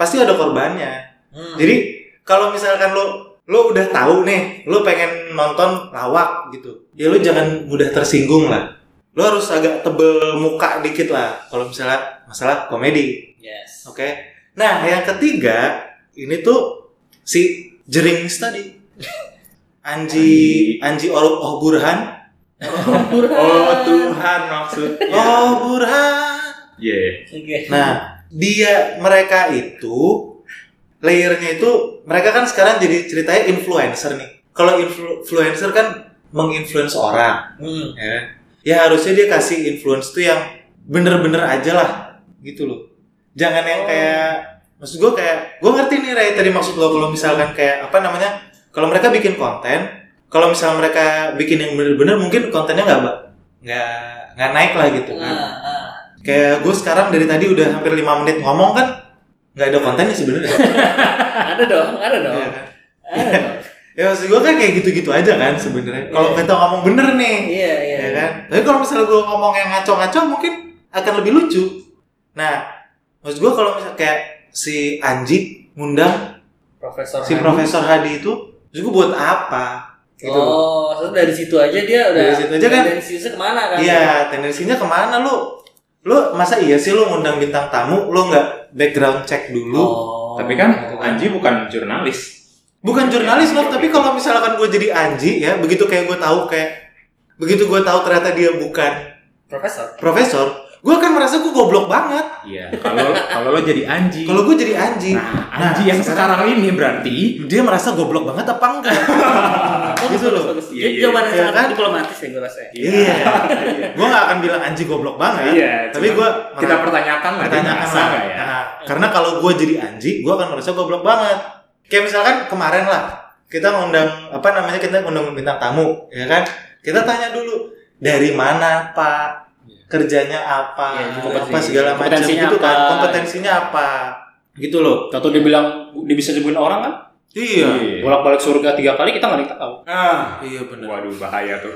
[SPEAKER 1] pasti ada korbannya
[SPEAKER 4] Hmm.
[SPEAKER 1] Jadi kalau misalkan lo lo udah tahu nih, lo pengen nonton lawak gitu, ya lo jangan mudah tersinggung lah. Lo harus agak tebel muka dikit lah kalau misalnya masalah komedi,
[SPEAKER 4] yes.
[SPEAKER 1] oke? Nah yang ketiga ini tuh si jering tadi, Anji Anji Or- Oh Burhan,
[SPEAKER 2] Oh Tuhan maksudnya.
[SPEAKER 1] Oh Burhan.
[SPEAKER 2] Iya.
[SPEAKER 4] Oke.
[SPEAKER 1] Nah, dia mereka itu layernya itu mereka kan sekarang jadi ceritanya influencer nih. Kalau influ- influencer kan menginfluence orang,
[SPEAKER 4] Hmm.
[SPEAKER 1] ya. kan? Ya harusnya dia kasih influence tuh yang bener-bener aja lah, gitu loh. Jangan yang
[SPEAKER 4] Oh.
[SPEAKER 1] kayak maksud gue kayak gue ngerti nih Ray tadi maksud lo kalau misalkan kayak apa namanya kalau mereka bikin konten kalau misalnya mereka bikin yang bener-bener mungkin kontennya nggak ba- nggak nggak naik lah gitu kan
[SPEAKER 4] Ah, ah.
[SPEAKER 1] Kayak gue sekarang dari tadi udah hampir 5 menit ngomong kan nggak ada kontennya sebenarnya.
[SPEAKER 4] Ada dong, ada dong.
[SPEAKER 1] Iya kan?
[SPEAKER 4] Ada dong.
[SPEAKER 1] ya maksud gue kan kayak gitu-gitu aja kan sebenarnya. Kalau kita ngomong bener nih,
[SPEAKER 4] Iya, iya.
[SPEAKER 1] ya kan. Tapi kalau misalnya gue ngomong yang ngaco-ngaco mungkin akan lebih lucu. Nah, maksud gue kalau misalnya kayak si Anji ngundang
[SPEAKER 4] Profesor.
[SPEAKER 1] si
[SPEAKER 4] Hadi.
[SPEAKER 1] Profesor Hadi itu, terus gue buat apa? Gitu.
[SPEAKER 4] Oh, terus dari situ aja dia udah
[SPEAKER 1] Dari situ aja kan?
[SPEAKER 4] Dari situ kemana kan?
[SPEAKER 1] Iya, tendensinya kemana lu? Lu masa iya sih lu ngundang bintang tamu, lu nggak background check dulu?
[SPEAKER 4] Oh.
[SPEAKER 2] Tapi kan Anji bukan jurnalis.
[SPEAKER 1] Bukan jurnalis loh, tapi kalau misalkan gue jadi anji ya, begitu kayak gue tahu kayak begitu gue tahu ternyata dia bukan
[SPEAKER 4] Profesor.
[SPEAKER 1] profesor, gue akan merasa gue goblok banget.
[SPEAKER 2] Iya, kalau kalau lo jadi anji.
[SPEAKER 1] Kalau gue jadi anji,
[SPEAKER 2] nah, anji
[SPEAKER 1] Nah,
[SPEAKER 2] yang sekarang ini berarti
[SPEAKER 1] dia merasa goblok banget apa enggak? gitu loh.
[SPEAKER 4] Oh, Bagus.
[SPEAKER 2] Iya,
[SPEAKER 4] Jadi
[SPEAKER 2] iya.
[SPEAKER 4] jawaban yang
[SPEAKER 1] Iya
[SPEAKER 4] sangat
[SPEAKER 1] kan?
[SPEAKER 4] diplomatis ya gue rasa. ya.
[SPEAKER 1] Iya. gue gak akan bilang anji goblok banget. Tapi
[SPEAKER 2] cuman
[SPEAKER 1] gue
[SPEAKER 2] Iya. kita pertanyakan lah,
[SPEAKER 1] pertanyaan
[SPEAKER 2] pertanyakan
[SPEAKER 1] lah.
[SPEAKER 2] nggak ya?
[SPEAKER 1] Nah, karena kalau gue jadi anji, gue akan merasa goblok banget. Kayak misalkan kemarin lah, kita ngundang apa namanya kita ngundang bintang tamu, ya kan? Kita tanya dulu dari mana Pak, kerjanya apa,
[SPEAKER 4] Iya,
[SPEAKER 1] apa
[SPEAKER 4] kompetensi-
[SPEAKER 1] segala macam
[SPEAKER 3] kompetensinya
[SPEAKER 1] gitu kan,
[SPEAKER 3] apa.
[SPEAKER 1] kompetensinya apa, gitu loh.
[SPEAKER 5] Tahu dia bilang dia bisa nyembuhin orang kan?
[SPEAKER 1] Iya.
[SPEAKER 5] Bolak-balik surga tiga kali kita nggak tahu.
[SPEAKER 1] Ah, iya benar.
[SPEAKER 2] Waduh bahaya tuh.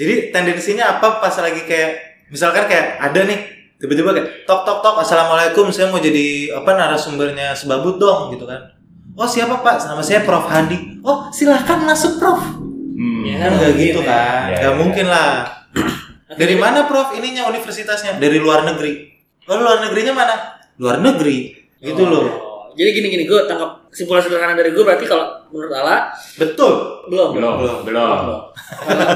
[SPEAKER 1] Jadi tendensinya apa pas lagi kayak misalkan kayak ada nih tiba-tiba kayak tok tok tok assalamualaikum saya mau jadi apa narasumbernya sebabut dong gitu kan. Oh siapa pak? Nama saya Prof Hadi. Oh silahkan masuk Prof.
[SPEAKER 2] Hmm.
[SPEAKER 4] Iya
[SPEAKER 1] Kan nggak gitu
[SPEAKER 4] mungkin ya.
[SPEAKER 1] kan?
[SPEAKER 2] Iya,
[SPEAKER 1] Nggak
[SPEAKER 2] iya.
[SPEAKER 1] mungkin lah. Dari mana Prof? Ininya universitasnya dari luar negeri. Oh luar negerinya mana? Luar negeri. Gitu loh.
[SPEAKER 4] Oh, Jadi gini-gini gue tangkap kesimpulan sederhana dari gue berarti kalau menurut Allah
[SPEAKER 1] Betul.
[SPEAKER 4] belum.
[SPEAKER 2] Belum,
[SPEAKER 1] Belum.
[SPEAKER 2] belum.
[SPEAKER 4] Kalau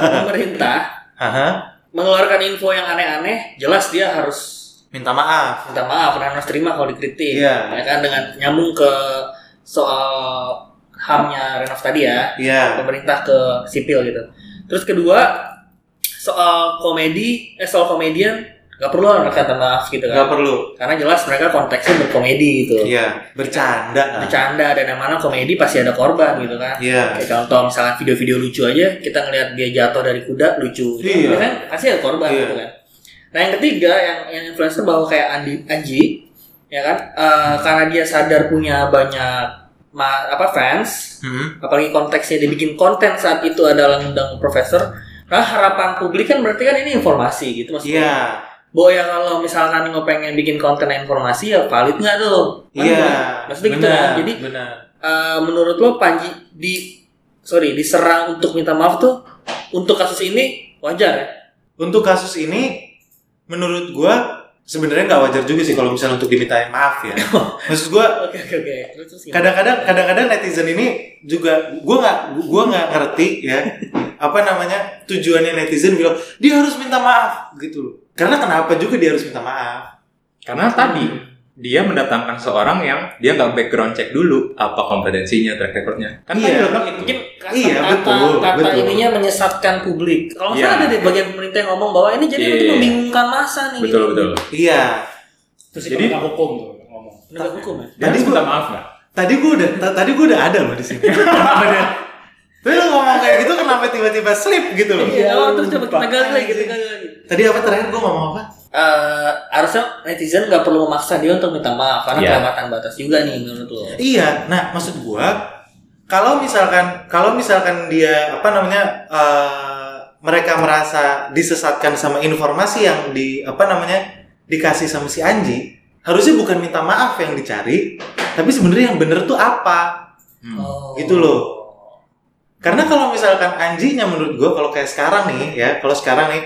[SPEAKER 4] pemerintah
[SPEAKER 1] Aha.
[SPEAKER 4] mengeluarkan info yang aneh-aneh, jelas dia harus
[SPEAKER 1] Minta maaf.
[SPEAKER 4] minta maaf dan harus terima kalau dikritik
[SPEAKER 1] Iya.
[SPEAKER 4] ya kan dengan nyambung ke soal hamnya Renov tadi ya
[SPEAKER 1] Iya.
[SPEAKER 4] pemerintah ke sipil gitu terus kedua soal komedi eh soal komedian nggak perlu lah mereka minta maaf gitu kan
[SPEAKER 1] Nggak perlu.
[SPEAKER 4] karena jelas mereka konteksnya berkomedi gitu
[SPEAKER 1] Iya. Bercanda. lah.
[SPEAKER 4] bercanda dan yang mana komedi pasti ada korban gitu kan
[SPEAKER 1] Iya.
[SPEAKER 4] Kayak contoh misalnya video-video lucu aja kita ngelihat dia jatuh dari kuda lucu
[SPEAKER 1] Iya.
[SPEAKER 4] kan pasti ada korban
[SPEAKER 1] Iya.
[SPEAKER 4] gitu kan nah yang ketiga yang yang influencer bahwa kayak Andi Anji ya kan eh, karena dia sadar punya banyak ma- apa fans
[SPEAKER 1] Hmm.
[SPEAKER 4] apalagi konteksnya dibikin konten saat itu adalah undang profesor nah harapan publik kan berarti kan ini informasi gitu maksudnya
[SPEAKER 1] Iya.
[SPEAKER 4] Bo ya kalau misalkan lo pengen bikin konten informasi ya valid nggak tuh Valid
[SPEAKER 1] Iya.
[SPEAKER 4] nggak? maksudnya gitu
[SPEAKER 1] benar,
[SPEAKER 4] kan jadi
[SPEAKER 1] benar.
[SPEAKER 4] Eh, menurut lo Panji di sorry diserang untuk minta maaf tuh untuk kasus ini wajar ya?
[SPEAKER 1] Untuk kasus ini menurut gua sebenarnya nggak wajar juga sih kalau misalnya untuk dimintain maaf ya. Maksud gua
[SPEAKER 4] Oke oke oke. Terus terus gimana?
[SPEAKER 1] kadang-kadang kadang-kadang netizen ini juga gua nggak gua nggak ngerti ya apa namanya tujuannya netizen bilang dia harus minta maaf gitu loh. Karena kenapa juga dia harus minta maaf?
[SPEAKER 2] Karena tadi dia mendatangkan seorang yang dia nggak background check dulu apa kompetensinya track recordnya. Kan tadi
[SPEAKER 1] Iya.
[SPEAKER 2] lo bilang itu.
[SPEAKER 4] Mungkin kata,
[SPEAKER 1] Iya,
[SPEAKER 4] kata,
[SPEAKER 1] betul,
[SPEAKER 4] kata
[SPEAKER 1] betul.
[SPEAKER 4] ininya menyesatkan publik. Kalau
[SPEAKER 2] Iya.
[SPEAKER 4] nggak salah ada di bagian pemerintah yang ngomong bahwa ini jadi
[SPEAKER 2] Iya,
[SPEAKER 4] untuk
[SPEAKER 2] iya, iya.
[SPEAKER 4] membingungkan masa nih.
[SPEAKER 2] Betul
[SPEAKER 4] gitu.
[SPEAKER 2] betul.
[SPEAKER 1] Iya.
[SPEAKER 5] Terus
[SPEAKER 2] Jadi-
[SPEAKER 5] Jadi, hukum tuh ngomong.
[SPEAKER 4] Penegak hukum ya.
[SPEAKER 2] Dia
[SPEAKER 1] Tadi
[SPEAKER 2] harus
[SPEAKER 1] gua-
[SPEAKER 2] minta maaf nggak?
[SPEAKER 1] Tadi gua udah ta- tadi gua udah ada loh di sini. Tapi lo ngomong kayak gitu kenapa tiba-tiba slip gitu loh?
[SPEAKER 4] Iya, oh, terus coba kita gali lagi,
[SPEAKER 1] Iya.
[SPEAKER 4] kita gali lagi.
[SPEAKER 1] Tadi apa terakhir gua ngomong apa?
[SPEAKER 4] Eh, harusnya netizen nggak perlu memaksa dia untuk minta maaf karena
[SPEAKER 2] Iya.
[SPEAKER 4] kelewatan batas juga nih menurut lo.
[SPEAKER 1] Iya, nah maksud gua kalau misalkan kalau misalkan dia apa namanya eh, mereka merasa disesatkan sama informasi yang di apa namanya dikasih sama si Anji, harusnya bukan minta maaf yang dicari, tapi sebenarnya yang bener tuh apa?
[SPEAKER 2] Hmm.
[SPEAKER 4] Oh.
[SPEAKER 1] Gitu loh. Karena kalau misalkan Anjinya menurut gua kalau kayak sekarang nih ya, kalau sekarang nih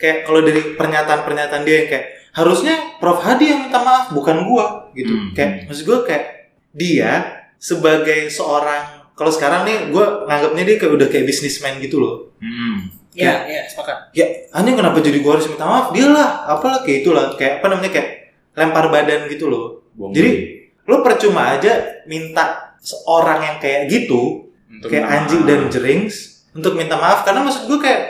[SPEAKER 1] kayak kalau dari pernyataan-pernyataan dia yang kayak harusnya Prof Hadi yang minta maaf bukan gua gitu.
[SPEAKER 2] Hmm.
[SPEAKER 1] Kayak maksud gua kayak dia sebagai seorang kalau sekarang nih gua nganggapnya dia kayak udah kayak bisnismen gitu loh.
[SPEAKER 2] Hmm.
[SPEAKER 4] Iya, iya, sepakat.
[SPEAKER 1] Ya, aneh kenapa jadi gua harus minta maaf? Dia lah, apalah kayak itulah kayak apa namanya kayak lempar badan gitu loh.
[SPEAKER 2] Buang
[SPEAKER 1] Jadi,
[SPEAKER 2] duit.
[SPEAKER 1] Lo percuma aja minta seorang yang kayak gitu
[SPEAKER 2] Untuk
[SPEAKER 1] kayak
[SPEAKER 2] minta
[SPEAKER 1] anjing
[SPEAKER 2] maaf.
[SPEAKER 1] dan jerings untuk minta maaf karena maksud gue kayak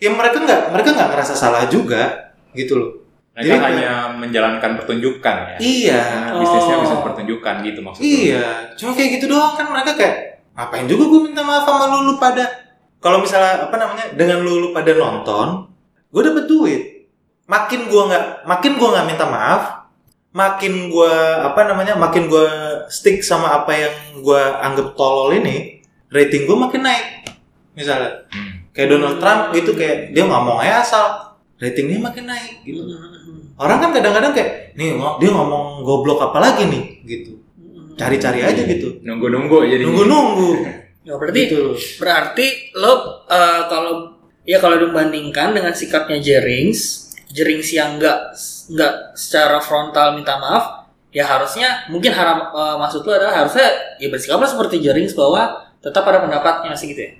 [SPEAKER 1] ya mereka nggak mereka nggak ngerasa salah juga gitu loh
[SPEAKER 2] mereka
[SPEAKER 1] Jadi-
[SPEAKER 2] hanya menjalankan pertunjukan ya.
[SPEAKER 1] iya
[SPEAKER 2] Nah, bisnisnya
[SPEAKER 4] Oh.
[SPEAKER 2] bisa pertunjukan gitu maksudnya.
[SPEAKER 1] iya cuma kayak gitu doang kan mereka kayak ngapain juga gue minta maaf sama lu, lu pada kalau misalnya apa namanya dengan lu, lu pada nonton gue dapet duit makin gue nggak makin gue nggak minta maaf makin gue apa namanya makin gue stick sama apa yang gue anggap tolol ini rating gue makin naik misalnya
[SPEAKER 2] Hmm.
[SPEAKER 1] kayak Donald Trump gitu kayak dia ngomong aja asal ratingnya makin naik gitu
[SPEAKER 4] Hmm,
[SPEAKER 1] orang kan kadang-kadang kayak nih ngo- dia ngomong goblok apa lagi nih gitu
[SPEAKER 4] hmm.
[SPEAKER 1] cari-cari aja gitu
[SPEAKER 2] Nunggu-nunggu jadi.
[SPEAKER 1] nunggu-nunggu
[SPEAKER 4] Ya, berarti
[SPEAKER 1] gitu
[SPEAKER 4] Berarti lo eh, kalau ya kalau dibandingkan dengan sikapnya Jerings, Jerings yang nggak nggak secara frontal minta maaf, ya harusnya mungkin haram eh, maksud lu adalah harusnya ya bersikaplah seperti Jerings bahwa tetap ada pendapatnya sih gitu ya.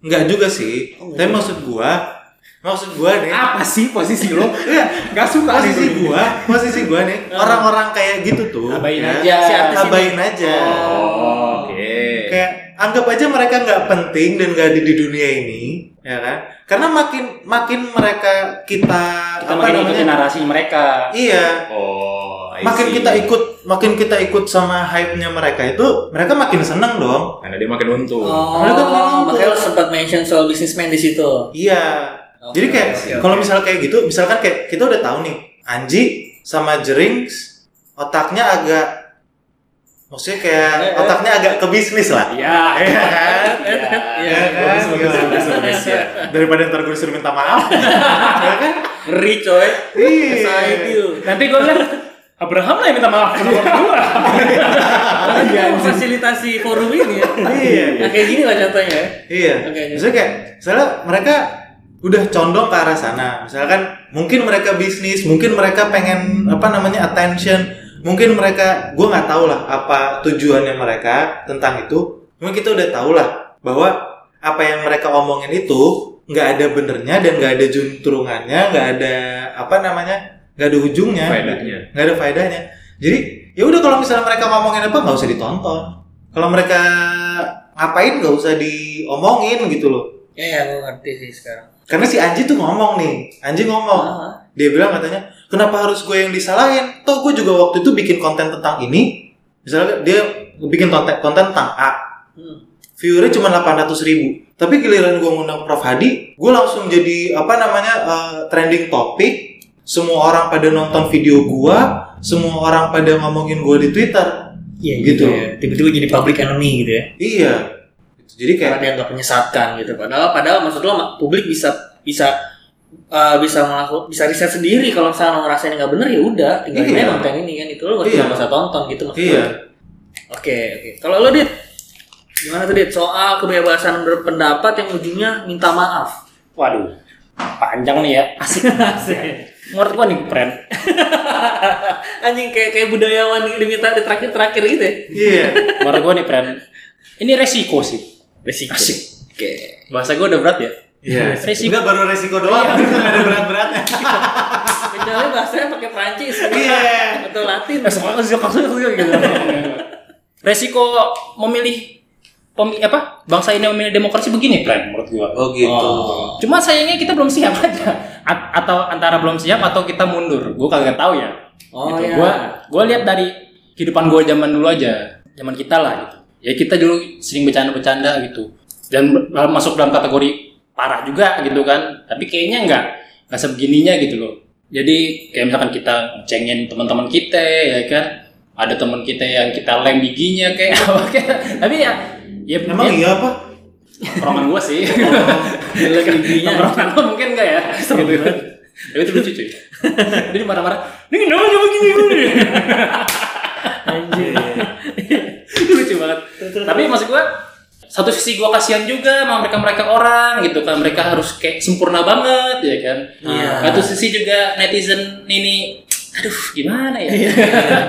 [SPEAKER 1] Enggak juga sih.
[SPEAKER 4] Oh,
[SPEAKER 1] Tapi
[SPEAKER 4] iya.
[SPEAKER 1] maksud gua, maksud gua nih.
[SPEAKER 2] Apa sih posisi lo? Gak suka
[SPEAKER 1] posisi
[SPEAKER 2] nih.
[SPEAKER 1] gua, posisi gua nih. Orang-orang kayak gitu tuh.
[SPEAKER 5] Abain
[SPEAKER 1] ya,
[SPEAKER 4] Ya, si artis ini.
[SPEAKER 1] Abain aja.
[SPEAKER 2] Oh, Oke.
[SPEAKER 1] Kayak anggap aja mereka nggak penting dan nggak ada di dunia ini, ya kan? Karena makin makin mereka kita,
[SPEAKER 5] Kita makin ikutin narasi mereka.
[SPEAKER 1] Iya,
[SPEAKER 2] Oh, I
[SPEAKER 1] makin
[SPEAKER 2] see.
[SPEAKER 1] kita ikut makin kita ikut sama hype-nya mereka itu, mereka makin seneng dong.
[SPEAKER 2] Karena dia makin untung.
[SPEAKER 1] Mereka belum mampu.
[SPEAKER 4] Oh, makanya lu sempat mention soal businessman di situ.
[SPEAKER 1] Iya.
[SPEAKER 4] Oke,
[SPEAKER 1] Jadi kayak
[SPEAKER 4] Oh, oke, oke.
[SPEAKER 1] kalau misalnya kayak gitu, misalkan kayak kita udah tahu nih, Anji sama Jerings otaknya agak maksudnya kayak
[SPEAKER 4] Eh, eh.
[SPEAKER 1] otaknya agak ke bisnis lah.
[SPEAKER 5] Iya.
[SPEAKER 1] Iya kan?
[SPEAKER 4] Iya.
[SPEAKER 1] Iya kan?
[SPEAKER 2] Bagus, bagus,
[SPEAKER 1] Gimana?
[SPEAKER 2] bagus, bagus, ya.
[SPEAKER 1] Daripada ntar gue disuruh minta maaf. ya kan?
[SPEAKER 4] Ngeri coy.
[SPEAKER 1] Iya.
[SPEAKER 4] Saya itu.
[SPEAKER 5] Nanti gue lihat Abraham lah yang minta maaf sama gue.
[SPEAKER 4] Fasilitasi forum ini ya.
[SPEAKER 1] Iya.
[SPEAKER 4] Nah, kayak gini lah contohnya. ya.
[SPEAKER 1] Iya.
[SPEAKER 4] Oke, oke.
[SPEAKER 1] Maksudnya kayak misalnya mereka udah condong ke arah sana. Misalkan mungkin mereka bisnis, mungkin mereka pengen apa namanya attention, mungkin mereka gue nggak tahu lah apa tujuannya mereka tentang itu. Mungkin kita udah tahu lah bahwa apa yang mereka omongin itu nggak ada benernya dan nggak ada junturungannya, nggak ada apa namanya, nggak ada ujungnya,
[SPEAKER 2] Faedahnya.
[SPEAKER 1] nggak ada faedahnya. Jadi ya udah kalau misalnya mereka ngomongin apa nggak usah ditonton. Kalau mereka ngapain nggak usah diomongin gitu loh.
[SPEAKER 4] Iya, ya, gue ngerti sih sekarang.
[SPEAKER 1] Karena si Anji tuh ngomong nih, Anji ngomong,
[SPEAKER 4] Ah,
[SPEAKER 1] dia bilang katanya, kenapa harus gue yang disalahin? Toh gue juga waktu itu bikin konten tentang ini, misalnya dia bikin konten konten tentang A,
[SPEAKER 4] hmm.
[SPEAKER 1] viewernya cuma 800 ribu. Tapi giliran gue ngundang Prof Hadi, gue langsung jadi apa namanya eh, trending topic. Semua orang pada nonton video gue, semua orang pada ngomongin gue di Twitter.
[SPEAKER 4] Iya,
[SPEAKER 1] Gitu.
[SPEAKER 4] ya. Tiba-tiba jadi public enemy gitu ya.
[SPEAKER 1] Iya. Jadi kayak
[SPEAKER 4] Karena dianggap menyesatkan gitu. Padahal padahal maksud lo ma- publik bisa bisa eh, bisa melakukan bisa riset sendiri kalau misalnya lo ngerasa ini nggak bener ya udah tinggal
[SPEAKER 1] Iya.
[SPEAKER 4] aja konten ini kan itu lo nggak
[SPEAKER 1] Iya.
[SPEAKER 4] nggak usah tonton gitu maksud
[SPEAKER 1] Iya.
[SPEAKER 4] gue. Oke oke. Kalau lo dit gimana tuh dit soal kebebasan berpendapat yang ujungnya minta maaf.
[SPEAKER 5] Waduh. Panjang nih ya. Asik. Menurut gue nih keren.
[SPEAKER 4] Anjing kayak kayak budayawan yang diminta di terakhir terakhir gitu. ya.
[SPEAKER 1] Iya.
[SPEAKER 5] Menurut gue nih keren. Ini resiko sih.
[SPEAKER 4] Resiko.
[SPEAKER 5] Asik.
[SPEAKER 4] Oke.
[SPEAKER 5] Bahasa gue udah berat ya.
[SPEAKER 1] Iya.
[SPEAKER 5] Resiko.
[SPEAKER 1] Enggak baru resiko doang, nggak ada berat-beratnya.
[SPEAKER 4] Kecuali bahasanya pakai Perancis. ya.
[SPEAKER 1] Iya.
[SPEAKER 4] Atau Latin.
[SPEAKER 5] Oh. Resiko memilih pemi- apa bangsa ini memilih demokrasi begini keren menurut gue.
[SPEAKER 1] Oh gitu.
[SPEAKER 4] Oh.
[SPEAKER 5] Cuma sayangnya kita belum siap aja A- atau antara belum siap atau kita mundur. Gue kagak tahu ya.
[SPEAKER 4] Oh
[SPEAKER 5] gitu.
[SPEAKER 4] iya.
[SPEAKER 5] Gua gua lihat dari kehidupan gue zaman dulu aja, zaman kita lah gitu. Ya kita dulu sering bercanda-bercanda gitu. Dan ber- masuk dalam kategori parah juga gitu kan. Tapi kayaknya nggak nggak sebegininya gitu loh. Jadi kayak misalkan kita cengin teman-teman kita ya kan. Ada teman kita yang kita lem giginya kayak apa kayak. Tapi ya ya
[SPEAKER 1] Emang
[SPEAKER 5] ya,
[SPEAKER 1] iya apa?
[SPEAKER 5] tongkrongan gue sih.
[SPEAKER 4] Jelek Oh, giginya.
[SPEAKER 5] Tongkrongan lo mungkin enggak ya? Gitu. Tapi itu lucu cuy. Jadi marah-marah. Ini kenapa coba gini gue?
[SPEAKER 4] Anjir.
[SPEAKER 5] itu lucu banget tapi maksud gua satu sisi gua kasihan juga sama mereka mereka orang gitu kan mereka harus kayak sempurna banget ya kan
[SPEAKER 4] Iya.
[SPEAKER 5] Nah, satu sisi juga netizen ini aduh gimana
[SPEAKER 4] Iya.
[SPEAKER 5] ya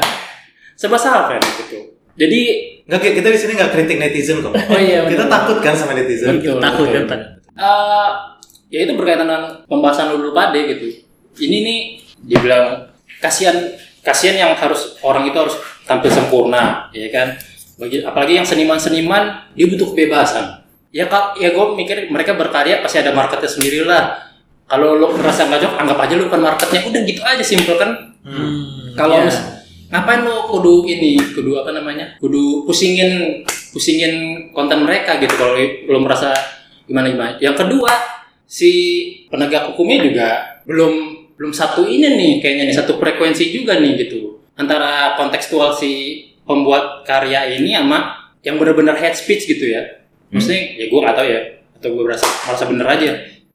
[SPEAKER 5] serba salah kan gitu jadi
[SPEAKER 1] Enggak kayak kita di sini nggak kritik netizen kok.
[SPEAKER 5] Oh iya, benar. Iya,
[SPEAKER 1] Kita takut kan sama netizen.
[SPEAKER 5] Betul,
[SPEAKER 4] Takut
[SPEAKER 5] betul.
[SPEAKER 4] kan?
[SPEAKER 5] eh, ya itu berkaitan dengan pembahasan lu dulu pade gitu ini nih dibilang kasihan kasihan yang harus orang itu harus tampil sempurna ya kan Bagi- apalagi yang seniman-seniman dia butuh kebebasan ya kak ya gue mikir mereka berkarya pasti ada marketnya sendiri lah kalau lo merasa nggak cocok anggap aja lu bukan marketnya udah gitu aja simpel kan
[SPEAKER 4] Hmm,
[SPEAKER 5] kalau
[SPEAKER 4] iya.
[SPEAKER 5] mis- ngapain lo kudu ini kudu apa namanya kudu pusingin pusingin konten mereka gitu kalau lo merasa gimana gimana yang kedua si penegak hukumnya juga belum belum satu ini nih kayaknya nih satu frekuensi juga nih gitu antara kontekstual si pembuat karya ini sama yang benar-benar head speech gitu ya
[SPEAKER 4] Hmm.
[SPEAKER 5] maksudnya ya gue nggak tahu ya atau gue merasa merasa bener aja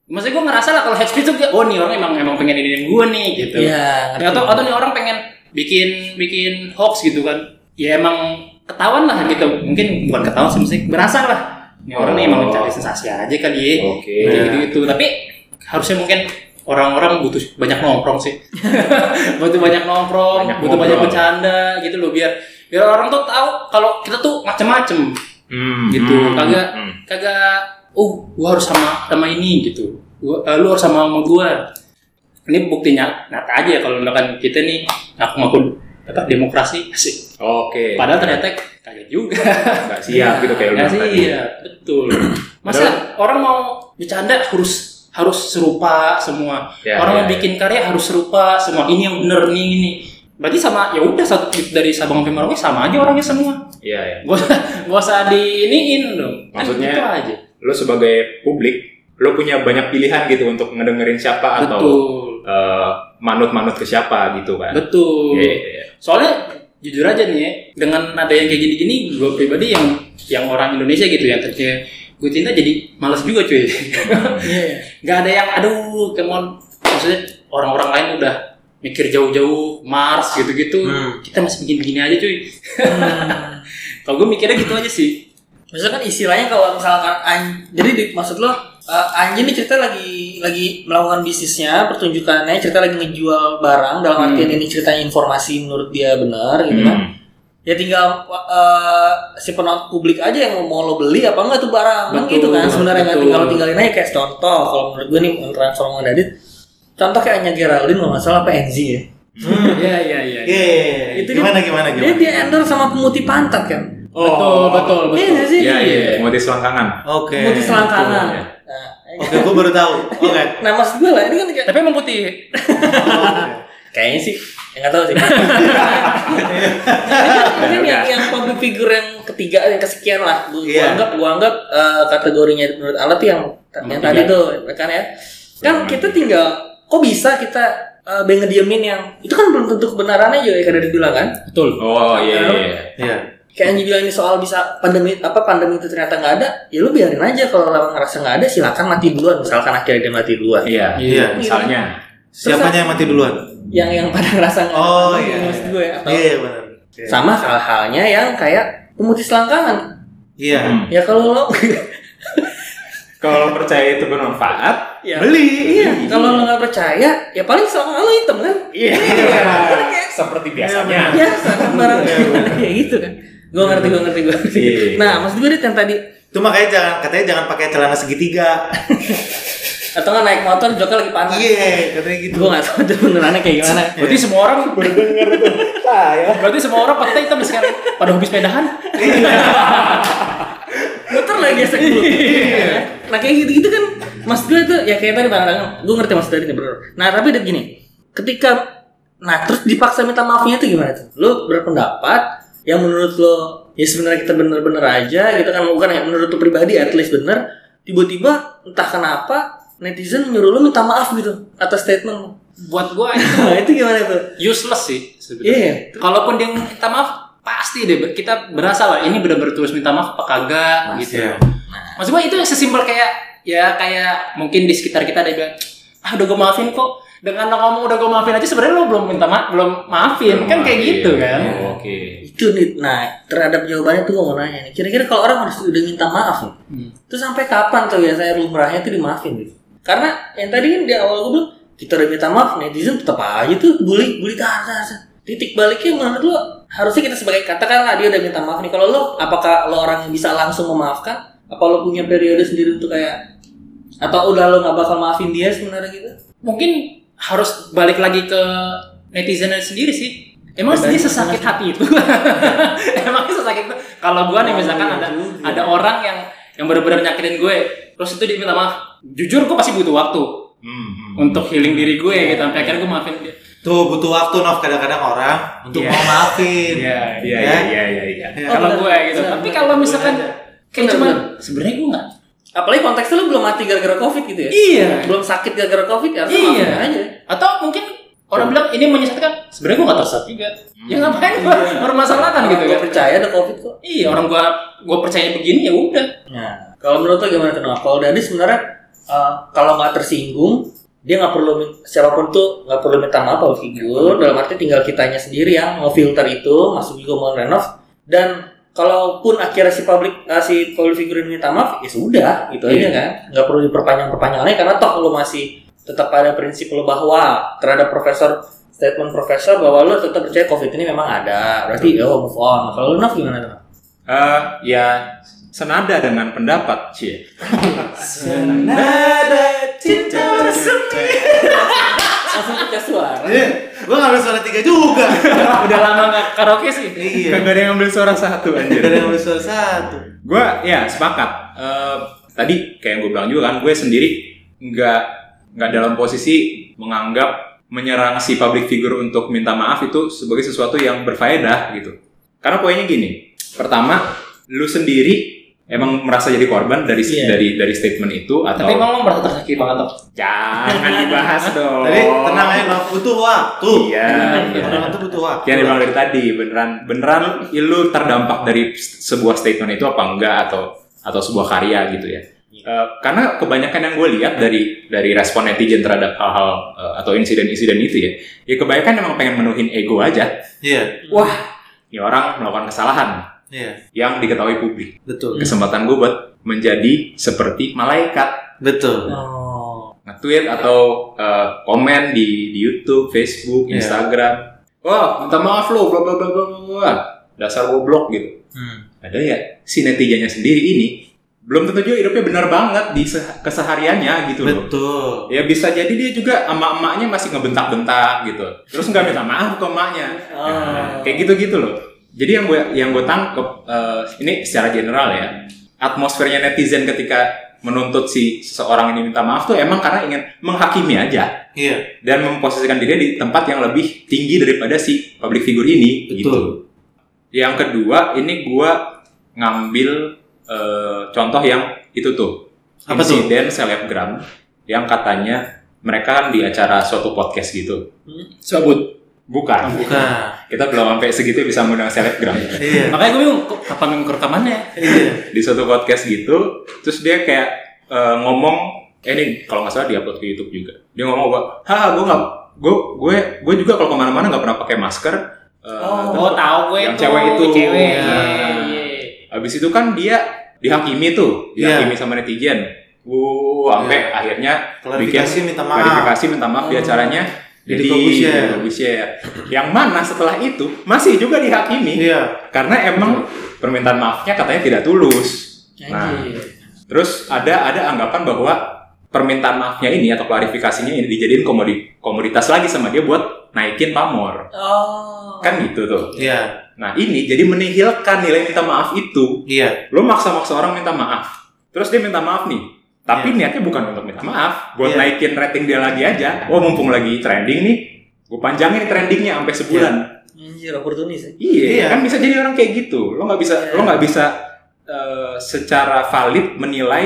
[SPEAKER 5] maksudnya gue ngerasa lah kalau head speech tuh kayak, oh nih orang emang emang pengen ini gue nih gitu
[SPEAKER 4] Iya, ngerti.
[SPEAKER 5] atau atau nih orang pengen bikin bikin hoax gitu kan ya emang ketahuan lah gitu mungkin bukan ketahuan sih mesti berasa lah ini orang nih emang
[SPEAKER 2] Oh.
[SPEAKER 5] mencari sensasi aja kali ya
[SPEAKER 2] Oke.
[SPEAKER 5] gitu gitu tapi harusnya mungkin orang-orang butuh banyak nongkrong sih butuh banyak nongkrong
[SPEAKER 2] Banyak
[SPEAKER 5] butuh banyak
[SPEAKER 2] ngobrol.
[SPEAKER 5] bercanda gitu loh biar biar orang tuh tahu kalau kita tuh macem-macem
[SPEAKER 2] Hmm,
[SPEAKER 5] gitu
[SPEAKER 2] hmm,
[SPEAKER 5] kagak
[SPEAKER 2] hmm.
[SPEAKER 5] kagak oh gua harus sama sama ini gitu gua eh, lu harus sama sama gua ini buktinya nyata aja ya kalau misalkan kita nih ngaku ngaku apa demokrasi sih
[SPEAKER 2] Oke.
[SPEAKER 5] padahal ternyata kagak juga
[SPEAKER 2] nggak siap gitu kayak lu
[SPEAKER 5] Nggak sih,
[SPEAKER 2] bilang tadi.
[SPEAKER 5] iya betul masa orang mau bercanda harus harus serupa semua
[SPEAKER 2] Ya,
[SPEAKER 5] orang
[SPEAKER 2] ya,
[SPEAKER 5] mau
[SPEAKER 2] ya.
[SPEAKER 5] bikin karya harus serupa semua ini yang bener nih ini berarti sama ya udah satu dari Sabang sampai Merauke sama aja orangnya semua
[SPEAKER 2] Iya, iya.
[SPEAKER 5] gak usah gak usah diiniin dong Kan
[SPEAKER 2] Maksudnya,
[SPEAKER 5] gitu aja
[SPEAKER 2] Lu sebagai publik, lu punya banyak pilihan gitu untuk ngedengerin siapa atau
[SPEAKER 5] betul
[SPEAKER 2] eh, manut-manut ke siapa gitu kan.
[SPEAKER 5] betul
[SPEAKER 2] Iya, iya, iya.
[SPEAKER 5] soalnya jujur aja nih ya dengan nada yang kayak gini-gini gue pribadi yang yang orang Indonesia gitu yang terkira gue cinta jadi males juga cuy
[SPEAKER 4] Iya.
[SPEAKER 5] nggak ada yang aduh kemon maksudnya orang-orang lain udah mikir jauh-jauh Mars gitu-gitu
[SPEAKER 1] Hmm.
[SPEAKER 5] kita masih bikin begini aja cuy kalau gue mikirnya gitu aja sih
[SPEAKER 4] Hmm. Maksudnya kan istilahnya kalau misalkan an- jadi di- maksud lo eh, anjing ini cerita lagi lagi melakukan bisnisnya, pertunjukannya, cerita lagi ngejual barang dalam artian ini ceritanya informasi menurut dia benar gitu kan.
[SPEAKER 2] Hmm.
[SPEAKER 4] Ya tinggal eh, si penonton publik aja yang mau lo beli apa enggak tuh barang. Kan
[SPEAKER 5] Betul,
[SPEAKER 4] gitu kan sebenarnya kan
[SPEAKER 5] betul.
[SPEAKER 4] tinggal lo tinggalin aja kayak contoh kalau menurut gue nih transfer sama Dadit. Contoh kayak Anya Geraldine kalau nggak salah apa NZ ya.
[SPEAKER 5] iya iya iya
[SPEAKER 1] Iya, iya, iya.
[SPEAKER 4] Itu dia-
[SPEAKER 1] gimana gimana
[SPEAKER 4] Dia
[SPEAKER 1] gimana?
[SPEAKER 4] dia endorse sama pemutih pantat kan.
[SPEAKER 5] betul betul
[SPEAKER 4] Iya
[SPEAKER 5] betul
[SPEAKER 4] nggak sih?
[SPEAKER 2] Iya, iya, iya. Motif selangkangan.
[SPEAKER 1] Oke. ya.
[SPEAKER 4] Pemutih selangkangan.
[SPEAKER 2] Iya.
[SPEAKER 4] Nah,
[SPEAKER 1] Oke, gue baru tahu. Oke.
[SPEAKER 4] nah maksud gue lah ini kan kayak
[SPEAKER 5] tapi emang putih
[SPEAKER 4] Kayaknya sih, ya nggak tahu sih. Mungkin yang, yang public figure yang ketiga, yang kesekian lah. Gue
[SPEAKER 1] Iya.
[SPEAKER 4] anggap, gua anggap eh, kategorinya menurut alat tuh yang, yang tadi
[SPEAKER 5] tiga.
[SPEAKER 4] tuh, kan ya. Kan kita tinggal, kok bisa kita eh, be ngediemin yang itu kan belum tentu kebenarannya juga kayak dari bilang kan.
[SPEAKER 5] betul
[SPEAKER 2] Oh, iya, iya. iya.
[SPEAKER 1] Iya.
[SPEAKER 4] Kayak yang dibilang ini soal bisa pandemi apa pandemi itu ternyata nggak ada, ya lu biarin aja kalau orang ngerasa nggak ada silakan mati duluan misalkan akhirnya dia mati duluan.
[SPEAKER 2] Iya.
[SPEAKER 1] Iya.
[SPEAKER 2] Misalnya.
[SPEAKER 1] Siapanya yang mati duluan?
[SPEAKER 4] Yang yang pada ngerasa nggak ada,
[SPEAKER 1] Oh, iya.
[SPEAKER 4] maksud gue ya, atau
[SPEAKER 1] Iya, iya, benar. Iya.
[SPEAKER 4] sama hal-halnya yang kayak pemutih selangkangan
[SPEAKER 1] Iya.
[SPEAKER 2] Hmm.
[SPEAKER 4] ya kalau lo
[SPEAKER 2] Kalau percaya itu bermanfaat,
[SPEAKER 4] ya,
[SPEAKER 1] Beli.
[SPEAKER 4] iya kalau lo nggak percaya ya paling selangkangan lo hitam kan
[SPEAKER 2] iya. Seperti
[SPEAKER 5] Iya,
[SPEAKER 2] biasanya.
[SPEAKER 4] ya kan barang
[SPEAKER 1] Iya.
[SPEAKER 4] kayak gitu kan gue ngerti gue ngerti gue ngerti
[SPEAKER 2] Iya.
[SPEAKER 4] nah maksud gue Dit, yang tadi
[SPEAKER 1] Itu makanya jangan katanya jangan pakai celana segitiga.
[SPEAKER 4] atau nggak naik motor joknya lagi panas
[SPEAKER 1] Iya, katanya gitu.
[SPEAKER 4] gue nggak tahu itu benerannya kayak gimana
[SPEAKER 5] berarti semua orang berarti semua orang peta hitam sekarang pada hobi sepedahan
[SPEAKER 4] muter lagi gesek dulu nah kayak gitu gitu kan mas gue tuh ya kayak tadi barang gue ngerti mas tadi nih bro nah tapi udah gini ketika nah terus dipaksa minta maafnya tuh gimana tuh lo berpendapat yang menurut lo ya sebenarnya kita bener-bener aja gitu kan bukan yang menurut lo pribadi at least bener tiba-tiba entah kenapa netizen nyuruh lo minta maaf gitu atas statement lo
[SPEAKER 5] buat gua
[SPEAKER 4] nah itu gimana tuh
[SPEAKER 5] useless sih
[SPEAKER 4] iya
[SPEAKER 5] sebenarnya. Kalaupun dia minta maaf, pasti deh kita berasa lah ini benar-benar tulus minta maaf apa kagak gitu.
[SPEAKER 1] Iya.
[SPEAKER 5] Maksud gua itu sesimpel kayak ya kayak mungkin di sekitar kita ada yang bilang, ah udah gue maafin kok. Dengan lo ngomong udah gue maafin aja sebenarnya lo belum minta maaf, belum maafin kan kayak gitu kan.
[SPEAKER 2] Oh, Oke.
[SPEAKER 4] itu nih nah terhadap jawabannya tuh gue mau nanya nih kira-kira kalau orang harus udah minta maaf nih
[SPEAKER 5] Hmm.
[SPEAKER 4] itu sampai kapan tuh ya biasanya lumrahnya tuh dimaafin gitu karena yang tadi kan di awal gue bilang kita udah minta maaf netizen tetap aja tuh bully bully tahan tahan tahan. titik baliknya menurut lo harusnya kita sebagai katakanlah dia udah minta maaf nih kalau lo apakah lo orang yang bisa langsung memaafkan apa lo punya periode sendiri untuk kayak atau udah lo nggak bakal maafin dia sebenarnya gitu
[SPEAKER 5] Mungkin harus balik lagi ke netizennya sendiri sih. Emang dia sesakit hati itu. Emang sesakit itu. Kalau gua
[SPEAKER 4] Oh,
[SPEAKER 5] nih misalkan
[SPEAKER 4] iya
[SPEAKER 5] ada
[SPEAKER 4] ya.
[SPEAKER 5] ada orang yang yang benar-benar nyakitin gue, terus itu dia minta maaf. Jujur gue pasti butuh waktu.
[SPEAKER 2] Hmm, hmm.
[SPEAKER 5] untuk healing diri gue
[SPEAKER 4] Iya.
[SPEAKER 5] gitu sampai akhirnya gue maafin dia
[SPEAKER 1] Tuh butuh waktu Nov kadang-kadang orang untuk
[SPEAKER 5] Iya.
[SPEAKER 1] mau maafin.
[SPEAKER 5] Iya,
[SPEAKER 2] Iya, iya, iya, iya, iya.
[SPEAKER 1] Iya.
[SPEAKER 5] kalau gue gitu
[SPEAKER 4] benar,
[SPEAKER 5] tapi
[SPEAKER 4] benar.
[SPEAKER 5] kalau misalkan kayak
[SPEAKER 4] Benar,
[SPEAKER 5] cuma
[SPEAKER 4] benar.
[SPEAKER 5] sebenarnya gue nggak
[SPEAKER 4] apalagi konteksnya lo belum mati gara-gara covid gitu ya
[SPEAKER 5] iya
[SPEAKER 4] belum sakit gara-gara covid ya harusnya
[SPEAKER 5] Iya.
[SPEAKER 4] maafin aja
[SPEAKER 5] atau mungkin
[SPEAKER 4] Iya.
[SPEAKER 5] orang bilang ini menyesatkan sebenarnya gue nggak tersesat juga ya ngapain gue mempermasalahkan gitu
[SPEAKER 4] Hmm. Iya. Gua
[SPEAKER 5] kan
[SPEAKER 4] percaya ada covid kok
[SPEAKER 5] iya orang gue gue percaya begini ya udah
[SPEAKER 4] Nah, kalau menurut lo gimana kenapa? Kalau Dadi sebenarnya eh, kalau nggak tersinggung, dia nggak perlu min- siapapun tuh nggak perlu minta maaf kalau figur. Dalam arti tinggal kitanya sendiri yang ngefilter itu, masuk juga mau renov dan kalaupun akhirnya si publik eh, si public figure ini minta maaf, ya sudah gitu aja kan. Nggak perlu diperpanjang perpanjang lagi karena toh lo masih tetap pada prinsip lo bahwa terhadap profesor statement profesor bahwa lo tetap percaya covid ini memang ada berarti ya move on kalau lo naf gimana Naf?
[SPEAKER 2] Eh, ya senada dengan pendapat cie.
[SPEAKER 1] Senada cinta semi.
[SPEAKER 4] langsung pecah suara
[SPEAKER 1] Iya. Gue ngambil suara tiga juga.
[SPEAKER 2] Ah,
[SPEAKER 3] Udah lama nggak karaoke sih.
[SPEAKER 1] Iya.
[SPEAKER 2] Kagak ada yang ambil suara satu anjir.
[SPEAKER 1] Dari yang ngambil suara satu.
[SPEAKER 2] gue ya sepakat. Eh, tadi kayak yang gue bilang juga kan, gue sendiri nggak nggak dalam posisi menganggap menyerang si public figure untuk minta maaf itu sebagai sesuatu yang berfaedah gitu. Karena poinnya gini, pertama lu sendiri emang merasa jadi korban dari
[SPEAKER 4] Iya.
[SPEAKER 2] dari dari statement itu atau
[SPEAKER 5] Tapi emang lo merasa tersakiti banget Tom?
[SPEAKER 2] jangan dibahas dong.
[SPEAKER 1] Tadi tenang aja, Nov. butuh waktu.
[SPEAKER 2] Oh. Iya, iya.
[SPEAKER 1] Orang itu butuh waktu.
[SPEAKER 2] Yang dibilang dari tadi beneran beneran lu terdampak dari sebuah statement itu apa enggak atau atau sebuah karya gitu ya. Eh, karena kebanyakan yang gue lihat dari dari respon netizen terhadap hal-hal eh, atau insiden-insiden itu ya, ya kebanyakan emang pengen menuhin ego aja.
[SPEAKER 1] Iya,
[SPEAKER 2] Ini orang melakukan kesalahan
[SPEAKER 1] iya,
[SPEAKER 2] yang diketahui publik.
[SPEAKER 1] betul,
[SPEAKER 2] Kesempatan gue buat menjadi seperti malaikat
[SPEAKER 1] betul.
[SPEAKER 4] oh
[SPEAKER 2] nge-tweet atau eh, komen di, di YouTube, Facebook,
[SPEAKER 1] Iya.
[SPEAKER 2] Instagram. Wah, minta maaf lo, bla bla bla bla bla, bla. Dasar goblok gitu.
[SPEAKER 1] Hmm.
[SPEAKER 2] Padahal ya si netizennya sendiri ini belum tentu juga hidupnya benar banget di se- kesehariannya gitu loh.
[SPEAKER 1] Betul.
[SPEAKER 2] Ya bisa jadi dia juga sama emaknya masih ngebentak-bentak gitu. Terus nggak minta maaf ke emaknya. Nah, kayak gitu-gitu loh. Jadi yang gue yang gue tangkep eh, ini secara general ya atmosfernya netizen ketika menuntut si seseorang ini minta maaf tuh emang karena ingin menghakimi aja
[SPEAKER 1] Iya,
[SPEAKER 2] dan memposisikan dirinya di tempat yang lebih tinggi daripada si public figure ini
[SPEAKER 1] Betul.
[SPEAKER 2] gitu. Yang kedua ini gue ngambil eh, contoh yang itu tuh
[SPEAKER 1] Apa tuh?
[SPEAKER 2] insiden selebgram yang katanya mereka kan di acara suatu podcast gitu.
[SPEAKER 5] Sebut
[SPEAKER 2] Bukan
[SPEAKER 1] Hmm. Oh, bukan.
[SPEAKER 2] kita belum sampai segitu bisa mengundang selebgram
[SPEAKER 1] Iya,
[SPEAKER 5] Makanya gue bingung, kok kapan yang rekamannya?
[SPEAKER 1] iya.
[SPEAKER 2] di suatu podcast gitu terus dia kayak eh, ngomong eh ini kalau nggak salah di upload ke YouTube juga dia ngomong apa ha gue nggak gue gue gue juga kalau kemana-mana nggak pernah pakai masker Eh,
[SPEAKER 3] Oh, tahu gue
[SPEAKER 2] Yang
[SPEAKER 3] tuh,
[SPEAKER 2] cewek itu.
[SPEAKER 3] Cewek.
[SPEAKER 2] Iya.
[SPEAKER 3] Iya.
[SPEAKER 2] habis itu kan dia dihakimi tuh
[SPEAKER 1] Iya.
[SPEAKER 2] dihakimi sama netizen wow sampai
[SPEAKER 1] Iya.
[SPEAKER 2] akhirnya
[SPEAKER 1] Klarifikasi minta maaf.
[SPEAKER 2] klarifikasi minta
[SPEAKER 3] Oh.
[SPEAKER 2] maaf di acaranya
[SPEAKER 1] Jadi ya.
[SPEAKER 2] Deddy
[SPEAKER 1] Corbuzier.
[SPEAKER 2] Corbuzier. ya. yang mana setelah itu masih juga dihakimi
[SPEAKER 1] Iya,
[SPEAKER 2] karena emang permintaan maafnya katanya tidak tulus.
[SPEAKER 4] Ya,
[SPEAKER 2] Nah,
[SPEAKER 4] Anjir.
[SPEAKER 2] terus ada ada anggapan bahwa permintaan maafnya ini atau klarifikasinya ini dijadiin komodi- komoditas lagi sama dia buat naikin pamor.
[SPEAKER 4] oh
[SPEAKER 2] Kan gitu tuh.
[SPEAKER 1] iya,
[SPEAKER 2] Nah, ini jadi menihilkan nilai minta maaf itu.
[SPEAKER 1] iya.
[SPEAKER 2] Lo maksa-maksa orang minta maaf. Terus dia minta maaf nih. Tapi niatnya bukan untuk minta maaf,
[SPEAKER 1] Iya.
[SPEAKER 2] buat naikin rating dia lagi aja. Oh, mumpung lagi trending nih, gue panjangin trendingnya sampai sebulan.
[SPEAKER 4] anjir oportunis ya.
[SPEAKER 2] Iya,
[SPEAKER 1] Iya.
[SPEAKER 2] kan bisa jadi orang kayak gitu. Lo nggak bisa, lo nggak bisa eh, secara valid menilai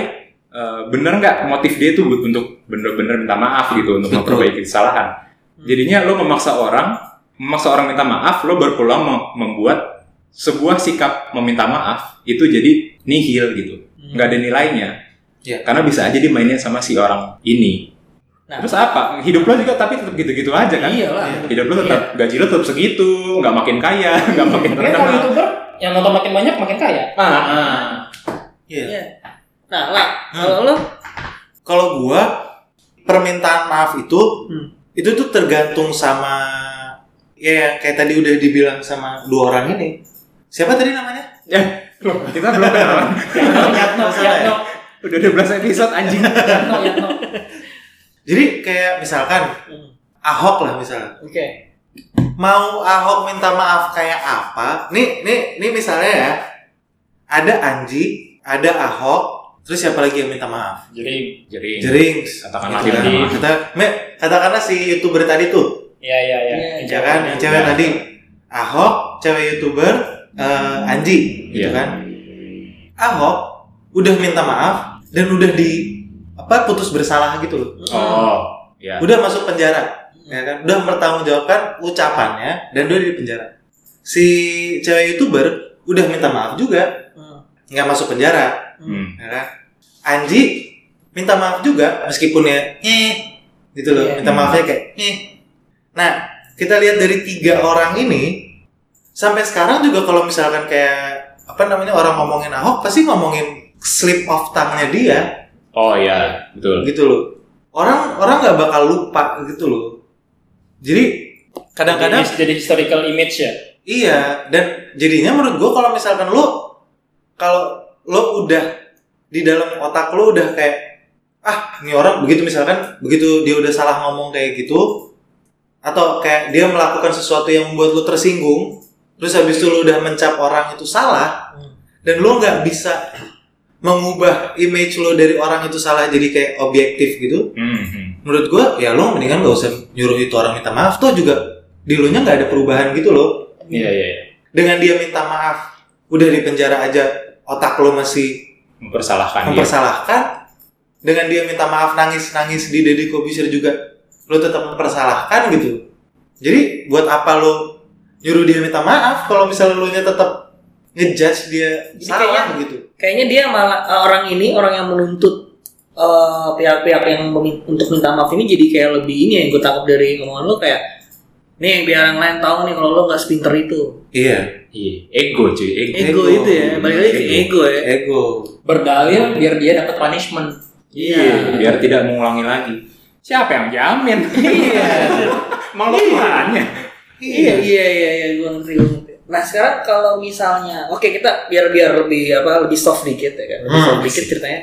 [SPEAKER 2] eh, bener nggak motif dia itu buat- untuk bener-bener minta maaf gitu untuk
[SPEAKER 1] Betul.
[SPEAKER 2] memperbaiki kesalahan. Jadinya lo memaksa orang, memaksa orang minta maaf, lo berpeluang mem- membuat sebuah sikap meminta maaf itu jadi nihil gitu, nggak ada nilainya.
[SPEAKER 1] Iya.
[SPEAKER 2] Karena bisa aja dimainnya sama si orang ini.
[SPEAKER 4] Nah.
[SPEAKER 2] Terus apa? Hidup lo juga tapi tetap gitu-gitu aja kan?
[SPEAKER 4] iya Iya, lah
[SPEAKER 2] hidup lu tetap gaji lu tetap segitu nggak makin kaya nggak makin
[SPEAKER 5] Kayaknya kalau
[SPEAKER 4] gitu.
[SPEAKER 2] terkenal
[SPEAKER 5] youtuber yang nonton makin banyak makin kaya.
[SPEAKER 2] ah Hmm.
[SPEAKER 1] Iya.
[SPEAKER 4] Iya. nah lah kalau lo
[SPEAKER 1] Kalau gua permintaan maaf itu
[SPEAKER 4] Hmm.
[SPEAKER 1] itu tuh tergantung sama ya yang kayak tadi udah dibilang sama dua orang ini. Siapa tadi namanya? ya.
[SPEAKER 2] ya loh, kita belum kenalan
[SPEAKER 1] Yatno,
[SPEAKER 2] ya?
[SPEAKER 3] Yatno.
[SPEAKER 2] udah 12 episode anjing
[SPEAKER 3] Yatno, Yatno.
[SPEAKER 1] Jadi kayak misalkan
[SPEAKER 4] Hmm.
[SPEAKER 1] Ahok lah misalnya.
[SPEAKER 3] Oke.
[SPEAKER 1] Mau Ahok minta maaf kayak apa? Nih, nih, nih misalnya ya. Ada Anji, ada Ahok, terus siapa lagi yang minta maaf?
[SPEAKER 5] Jadi
[SPEAKER 2] jadi
[SPEAKER 1] Jerings.
[SPEAKER 2] Katakanlah
[SPEAKER 1] Gitu
[SPEAKER 5] dia
[SPEAKER 1] kan.
[SPEAKER 5] minta maaf.
[SPEAKER 1] Kita, me, katakanlah si youtuber tadi tuh
[SPEAKER 5] ya ya ya.
[SPEAKER 4] Iya,
[SPEAKER 1] ya kan yang cewek tadi Ahok cewek youtuber eh, Anji gitu
[SPEAKER 2] Iya.
[SPEAKER 1] kan Ahok udah minta maaf dan udah di apa putus bersalah gitu loh
[SPEAKER 2] oh ya
[SPEAKER 1] udah masuk penjara ya kan udah mempertanggungjawabkan ucapannya dan udah di penjara si cewek youtuber udah minta maaf juga
[SPEAKER 4] Hmm.
[SPEAKER 1] nggak masuk penjara
[SPEAKER 2] Hmm.
[SPEAKER 1] ya kan Anji minta maaf juga meskipun ya eh gitu loh
[SPEAKER 4] Iya.
[SPEAKER 1] minta maafnya kayak eh nah kita lihat dari tiga orang ini sampai sekarang juga kalau misalkan kayak apa namanya orang ngomongin Ahok pasti ngomongin slip of tongue-nya dia
[SPEAKER 2] oh ya betul
[SPEAKER 1] gitu loh orang orang nggak bakal lupa gitu loh jadi kadang-kadang
[SPEAKER 5] Jadi- jadi historical image ya
[SPEAKER 1] Iya, dan jadinya menurut gue kalau misalkan lo kalau lo udah di dalam otak lo udah kayak ah ini orang begitu misalkan begitu dia udah salah ngomong kayak gitu atau kayak dia melakukan sesuatu yang membuat lo tersinggung terus habis itu lo udah mencap orang itu salah dan lo nggak bisa mengubah image lo dari orang itu salah jadi kayak objektif gitu
[SPEAKER 2] Hmm,
[SPEAKER 1] menurut gua ya lo mendingan gak usah nyuruh itu orang minta maaf toh juga di lo nya nggak ada perubahan gitu loh
[SPEAKER 2] Iya iya. iya.
[SPEAKER 1] dengan dia minta maaf udah di penjara aja otak lo masih Iya.
[SPEAKER 2] Mempersalahkan dia.
[SPEAKER 1] mempersalahkan dengan dia minta maaf nangis nangis di Deddy Kobusier juga lo tetap mempersalahkan gitu jadi buat apa lo nyuruh dia minta maaf kalau misalnya lo nya tetap ngejudge dia
[SPEAKER 4] Jadi
[SPEAKER 1] salah gitu
[SPEAKER 4] Kayaknya dia malah eh, orang ini orang yang menuntut eh, pihak-pihak yang memin- untuk minta maaf ini jadi kayak lebih ini ya, yang gue tangkap dari omongan lo kayak nih biar yang lain tahu nih kalau lo nggak sepinter itu
[SPEAKER 1] iya
[SPEAKER 2] Iya. Ego cuy. Ego.
[SPEAKER 4] ego,
[SPEAKER 1] Ego.
[SPEAKER 4] itu ya balik lagi ke ego ya
[SPEAKER 1] ego
[SPEAKER 5] berdalil biar dia dapat punishment
[SPEAKER 2] Iya. Biar tidak mengulangi lagi. Siapa yang jamin? Iya. Mengelolanya.
[SPEAKER 4] Iya iya iya iya gue ngerti gue ngerti. Nah sekarang kalau misalnya, oke kita biar biar lebih apa lebih soft dikit ya kan, lebih
[SPEAKER 1] Hmm.
[SPEAKER 4] soft dikit ceritanya.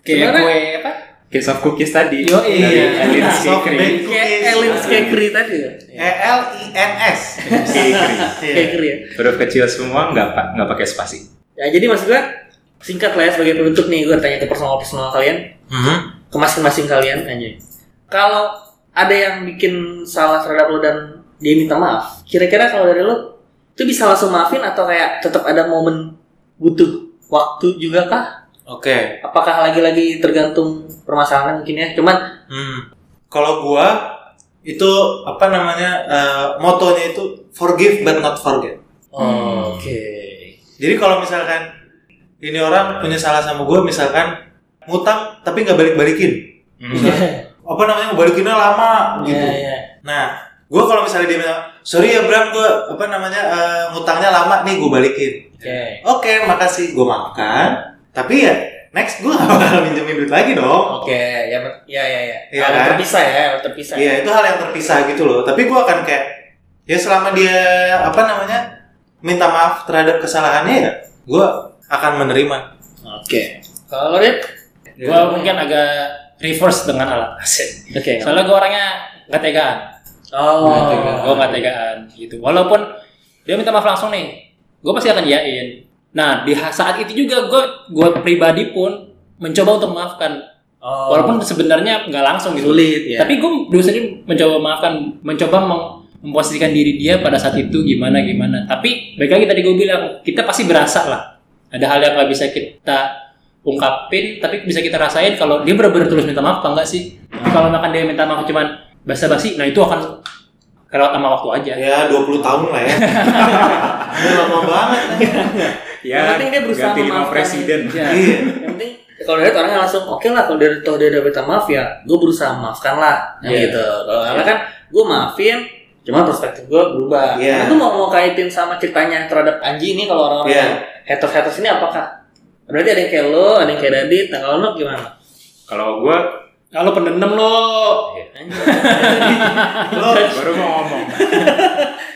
[SPEAKER 5] kayak
[SPEAKER 4] Sebenarnya-
[SPEAKER 5] gue apa
[SPEAKER 2] Case of cookies tadi.
[SPEAKER 5] Yo,
[SPEAKER 2] Dari
[SPEAKER 5] iya.
[SPEAKER 2] Elin
[SPEAKER 1] Soft
[SPEAKER 2] Skikri.
[SPEAKER 1] baked
[SPEAKER 4] Kayak
[SPEAKER 1] cookies.
[SPEAKER 4] Elin Skekri tadi ya,
[SPEAKER 1] E L I N S
[SPEAKER 2] Skikri.
[SPEAKER 4] Skekri ya.
[SPEAKER 2] Huruf kecil semua nggak pak nggak pakai spasi.
[SPEAKER 4] Ya jadi maksud gue singkat lah ya sebagai penutup nih gue tanya ke personal personal kalian,
[SPEAKER 1] Hmm,
[SPEAKER 4] ke masing-masing kalian aja. Kalau ada yang bikin salah terhadap lo dan dia minta maaf, kira-kira kalau dari lo itu bisa langsung maafin atau kayak tetap ada momen butuh waktu juga kah?
[SPEAKER 1] oke
[SPEAKER 4] apakah lagi-lagi tergantung permasalahan mungkin ya cuman
[SPEAKER 1] Hmm. Kalau gua itu apa namanya eh, motonya itu forgive but not forget.
[SPEAKER 2] Hmm.
[SPEAKER 4] oke
[SPEAKER 1] Jadi kalau misalkan ini orang punya salah sama gua misalkan ngutang tapi nggak balik-balikin.
[SPEAKER 4] Hmm.
[SPEAKER 1] Apa namanya ngebalikinnya lama gitu.
[SPEAKER 4] ya ya
[SPEAKER 1] Nah, gua kalau misalnya dia bilang, "Sorry ya Bram, gua apa namanya eh, ngutangnya lama nih, gua balikin."
[SPEAKER 4] oke
[SPEAKER 1] Oke, makasih. Gua maafkan. Tapi ya next gua gak bakal minjemin duit lagi dong.
[SPEAKER 4] oke ya ya ya ya
[SPEAKER 1] Iya
[SPEAKER 4] Hal
[SPEAKER 1] kan?
[SPEAKER 4] terpisah ya hal terpisah
[SPEAKER 1] Iya, itu hal yang terpisah gitu loh. Tapi gua akan kayak ya selama dia apa namanya minta maaf terhadap kesalahannya ya, gua akan menerima.
[SPEAKER 5] oke
[SPEAKER 4] kalau lo Dit?
[SPEAKER 5] gue
[SPEAKER 2] Iya.
[SPEAKER 5] mungkin agak reverse dengan alat aset
[SPEAKER 4] oke
[SPEAKER 5] soalnya gue orangnya nggak tegaan
[SPEAKER 4] oh
[SPEAKER 5] gue nggak tegaan gitu walaupun dia minta maaf langsung nih gue pasti akan yain nah di ha- saat itu juga gue gue pribadi pun mencoba untuk memaafkan
[SPEAKER 4] oh.
[SPEAKER 5] walaupun sebenarnya nggak langsung gitu
[SPEAKER 4] sulit
[SPEAKER 3] Iya.
[SPEAKER 4] ya
[SPEAKER 5] tapi gue dulu sendiri mencoba memaafkan mencoba meng- memposisikan diri dia pada saat itu gimana gimana tapi baik lagi tadi gue bilang kita pasti berasa lah ada hal yang nggak bisa kita ungkapin tapi bisa kita rasain kalau dia benar-benar tulus minta maaf apa enggak sih Tapi kalau makan dia minta maaf cuman basa-basi nah itu akan kelewat sama waktu aja
[SPEAKER 1] Ya 20 tahun lah ya. Udah lama banget.
[SPEAKER 4] Yang penting dia berusaha
[SPEAKER 2] Ya, ganti lima
[SPEAKER 4] memaafkan.
[SPEAKER 2] presiden.
[SPEAKER 5] Ya.
[SPEAKER 1] Iya.
[SPEAKER 4] yang penting kalau dari orangnya langsung oke lah kalau dari toh dia udah minta maaf ya gue berusaha memaafkan lah Yang
[SPEAKER 5] Iya.
[SPEAKER 4] gitu kalau karena kan gue maafin cuman perspektif gue berubah
[SPEAKER 1] Iya.
[SPEAKER 4] karena gue mau mau kaitin sama ceritanya terhadap Anji ini kalau orang-orang
[SPEAKER 1] Iya.
[SPEAKER 4] yang haters haters ini apakah berarti ada yang kayak lo ada yang kayak Dadit nah kalau lo gimana
[SPEAKER 2] Kalau gue
[SPEAKER 3] Ya
[SPEAKER 5] kalau pendendam lo
[SPEAKER 4] Anjing.
[SPEAKER 1] Lo
[SPEAKER 2] baru mau ngomong.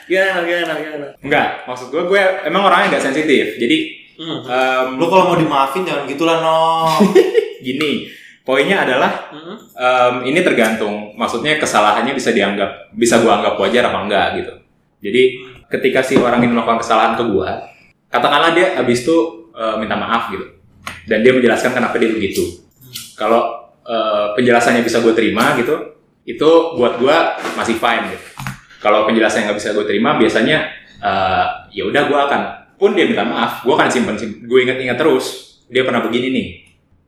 [SPEAKER 4] gimana gimana gimana
[SPEAKER 2] Enggak, maksud gue gue emang orangnya nggak sensitif. Jadi
[SPEAKER 4] hmm.
[SPEAKER 2] em,
[SPEAKER 1] lo kalau mau dimaafin jangan gitulah no.
[SPEAKER 2] gini, poinnya adalah
[SPEAKER 4] Hmm.
[SPEAKER 2] em, ini tergantung. Maksudnya kesalahannya bisa dianggap bisa gue anggap wajar apa enggak gitu. Jadi ketika si orang ini melakukan kesalahan ke gue, katakanlah dia abis itu eh, minta maaf gitu, dan dia menjelaskan kenapa dia begitu. Kalau eh, penjelasannya bisa gue terima gitu, itu buat gue masih fine gitu. Kalau penjelasannya nggak bisa gue terima, biasanya eh, ya udah gue akan pun dia minta maaf, gue akan simpen simpen, gue ingat-ingat terus dia pernah begini nih.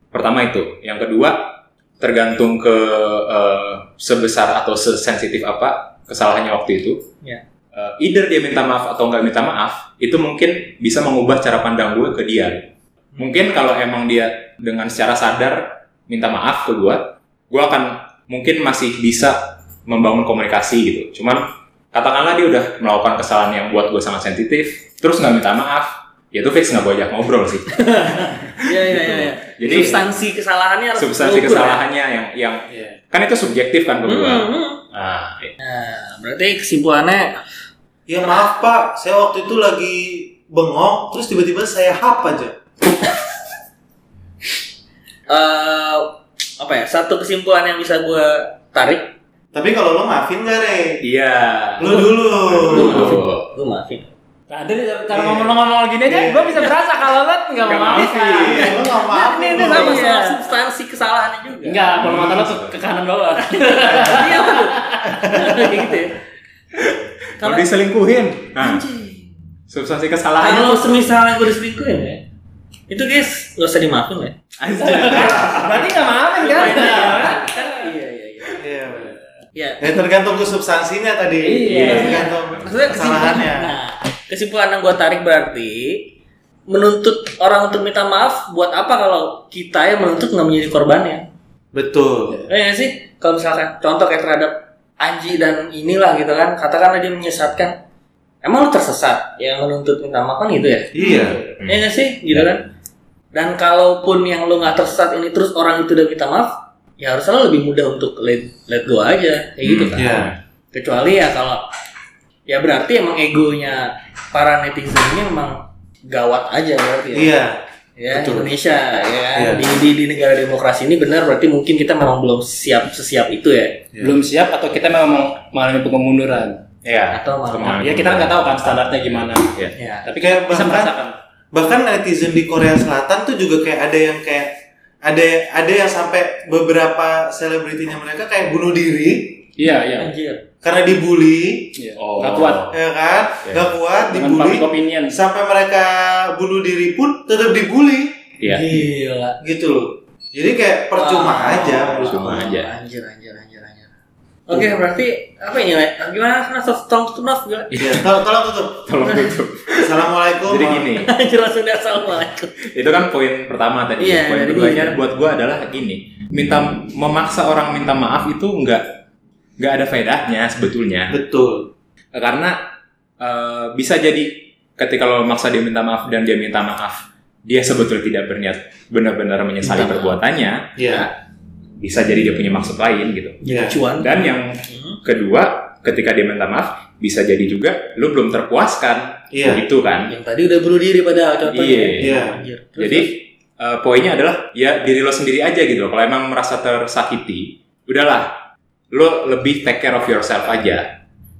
[SPEAKER 2] Pertama itu, yang kedua tergantung ke eh, sebesar atau sesensitif apa kesalahannya waktu itu.
[SPEAKER 4] Ya.
[SPEAKER 2] Eh, either dia minta maaf atau nggak minta maaf, itu mungkin bisa mengubah cara pandang gue ke dia. Mungkin kalau emang dia dengan secara sadar minta maaf ke gue, gue akan mungkin masih bisa membangun komunikasi gitu. Cuman katakanlah dia udah melakukan kesalahan yang buat gue sangat sensitif, terus nggak minta maaf, ya itu fix nggak gue ajak ngobrol sih
[SPEAKER 4] Iya iya iya. iya.
[SPEAKER 2] Jadi-
[SPEAKER 4] substansi kesalahannya harus
[SPEAKER 2] substansi
[SPEAKER 4] terukur, ya.
[SPEAKER 2] kesalahannya yang yang
[SPEAKER 5] Iya.
[SPEAKER 2] kan itu subjektif kan kalau gua.
[SPEAKER 4] Hmm, hmm.
[SPEAKER 2] Nah,
[SPEAKER 4] Nah, berarti kesimpulannya
[SPEAKER 1] Ya maaf pak, saya waktu itu lagi bengong, terus tiba-tiba saya hap aja.
[SPEAKER 4] eh apa ya? Satu kesimpulan yang bisa gue tarik,
[SPEAKER 1] Tapi kalau lo maafin gak Re?
[SPEAKER 2] iya.
[SPEAKER 1] Lo dulu.
[SPEAKER 2] Betul.
[SPEAKER 4] gue maafin.
[SPEAKER 3] Nah, ada cara ngomong-ngomong gini aja, gua bisa berasa kalau lo nggak mau maafin.
[SPEAKER 1] Iya, lo gak maafin.
[SPEAKER 3] Ini- ini
[SPEAKER 1] lo.
[SPEAKER 4] Sama
[SPEAKER 3] Iya.
[SPEAKER 4] soal substansi kesalahannya juga.
[SPEAKER 5] Enggak, kalau mata lo tuh ke kanan bawah.
[SPEAKER 4] Iya betul. Kayak gitu ya.
[SPEAKER 2] Kalau
[SPEAKER 4] Kalau
[SPEAKER 2] diselingkuhin, nah, substansi kesalahannya
[SPEAKER 4] kalau semisalnya gue diselingkuhin ya, itu guys nggak usah dimaafin ya.
[SPEAKER 3] Berarti nggak maafin kan?
[SPEAKER 4] Iya iya iya.
[SPEAKER 1] Iya.
[SPEAKER 4] Iya.
[SPEAKER 1] Ya tergantung ke substansinya tadi.
[SPEAKER 3] Iya.
[SPEAKER 1] Tergantung
[SPEAKER 4] Maksudnya kesimpulan,
[SPEAKER 1] kesalahannya.
[SPEAKER 4] nah, kesimpulan yang gue tarik berarti menuntut orang untuk minta maaf buat apa kalau kita yang menuntut nggak menjadi korbannya?
[SPEAKER 1] Betul.
[SPEAKER 4] Eh ya sih, kalau misalkan contoh kayak terhadap Anji dan inilah gitu kan, katakanlah dia menyesatkan. Emang lu tersesat yang menuntut minta maaf kan gitu ya?
[SPEAKER 1] Iya.
[SPEAKER 2] Hmm.
[SPEAKER 4] Ya nggak sih, gitu kan? Dan kalaupun yang lu nggak tersesat ini terus orang itu udah minta maaf, ya harusnya lu lebih mudah untuk let, let go aja, kayak gitu kan?
[SPEAKER 1] Iya.
[SPEAKER 4] Kecuali ya kalau ya berarti emang egonya para netizen ini memang gawat aja berarti ya.
[SPEAKER 1] Iya.
[SPEAKER 4] Ya,
[SPEAKER 1] Betul.
[SPEAKER 4] Indonesia ya kan?
[SPEAKER 1] Iya.
[SPEAKER 4] di, di, di negara demokrasi ini benar berarti mungkin kita memang belum siap sesiap itu ya
[SPEAKER 5] Belum siap atau kita memang mengalami pengunduran.
[SPEAKER 2] Iya.
[SPEAKER 4] atau
[SPEAKER 2] Kemana?
[SPEAKER 4] malah
[SPEAKER 5] Ya kita nggak tahu kan standarnya gimana.
[SPEAKER 4] ya
[SPEAKER 5] Tapi
[SPEAKER 1] Kayak
[SPEAKER 5] kita bisa
[SPEAKER 1] bahkan-
[SPEAKER 5] merasakan.
[SPEAKER 1] bahkan netizen di Korea Selatan tuh juga kayak ada yang kayak ada ada yang sampai beberapa selebritinya mereka kayak bunuh diri
[SPEAKER 5] Iya, iya.
[SPEAKER 4] Ya, anjir
[SPEAKER 1] karena dibully
[SPEAKER 5] Iya.
[SPEAKER 2] Oh.
[SPEAKER 5] Nggak kuat.
[SPEAKER 1] ya kan
[SPEAKER 2] Iya.
[SPEAKER 1] nggak kuat
[SPEAKER 5] Dengan
[SPEAKER 1] dibully
[SPEAKER 5] public opinion.
[SPEAKER 1] sampai mereka bunuh diri pun tetap dibully
[SPEAKER 2] Iya.
[SPEAKER 4] gila
[SPEAKER 1] gitu loh jadi kayak percuma
[SPEAKER 4] Wow.
[SPEAKER 1] aja
[SPEAKER 2] Percuma aja.
[SPEAKER 4] Oh, anjir anjir anjir anjir oke berarti apa ini Le? gimana Nah, soft tong tutup Naf, gila
[SPEAKER 1] ya, tolong tolong tutup
[SPEAKER 2] Tolong tutup.
[SPEAKER 1] assalamualaikum
[SPEAKER 2] Jadi gini,
[SPEAKER 4] anjir langsung dia assalamualaikum
[SPEAKER 2] itu kan poin pertama tadi.
[SPEAKER 4] Iya,
[SPEAKER 2] poin
[SPEAKER 4] dari
[SPEAKER 2] keduanya
[SPEAKER 4] gini.
[SPEAKER 2] buat gua adalah gini, minta memaksa orang minta maaf itu nggak nggak ada faedahnya sebetulnya.
[SPEAKER 1] betul
[SPEAKER 2] karena eh, bisa jadi ketika lo maksa dia minta maaf dan dia minta maaf dia sebetulnya tidak berniat benar-benar menyesali
[SPEAKER 4] Minta maaf.
[SPEAKER 2] perbuatannya
[SPEAKER 1] ya
[SPEAKER 2] bisa jadi dia punya maksud lain gitu
[SPEAKER 1] ya
[SPEAKER 4] cuan
[SPEAKER 2] dan yang
[SPEAKER 4] Hmm.
[SPEAKER 2] kedua ketika dia minta maaf bisa jadi juga lo belum terpuaskan
[SPEAKER 1] Iya.
[SPEAKER 2] gitu kan
[SPEAKER 4] yang tadi udah bunuh diri padahal contohnya
[SPEAKER 2] Iya.
[SPEAKER 1] Iya.
[SPEAKER 4] anjir Terus,
[SPEAKER 2] jadi eh, poinnya adalah ya diri lo sendiri aja gitu loh kalau emang merasa tersakiti udahlah lo lebih take care of yourself aja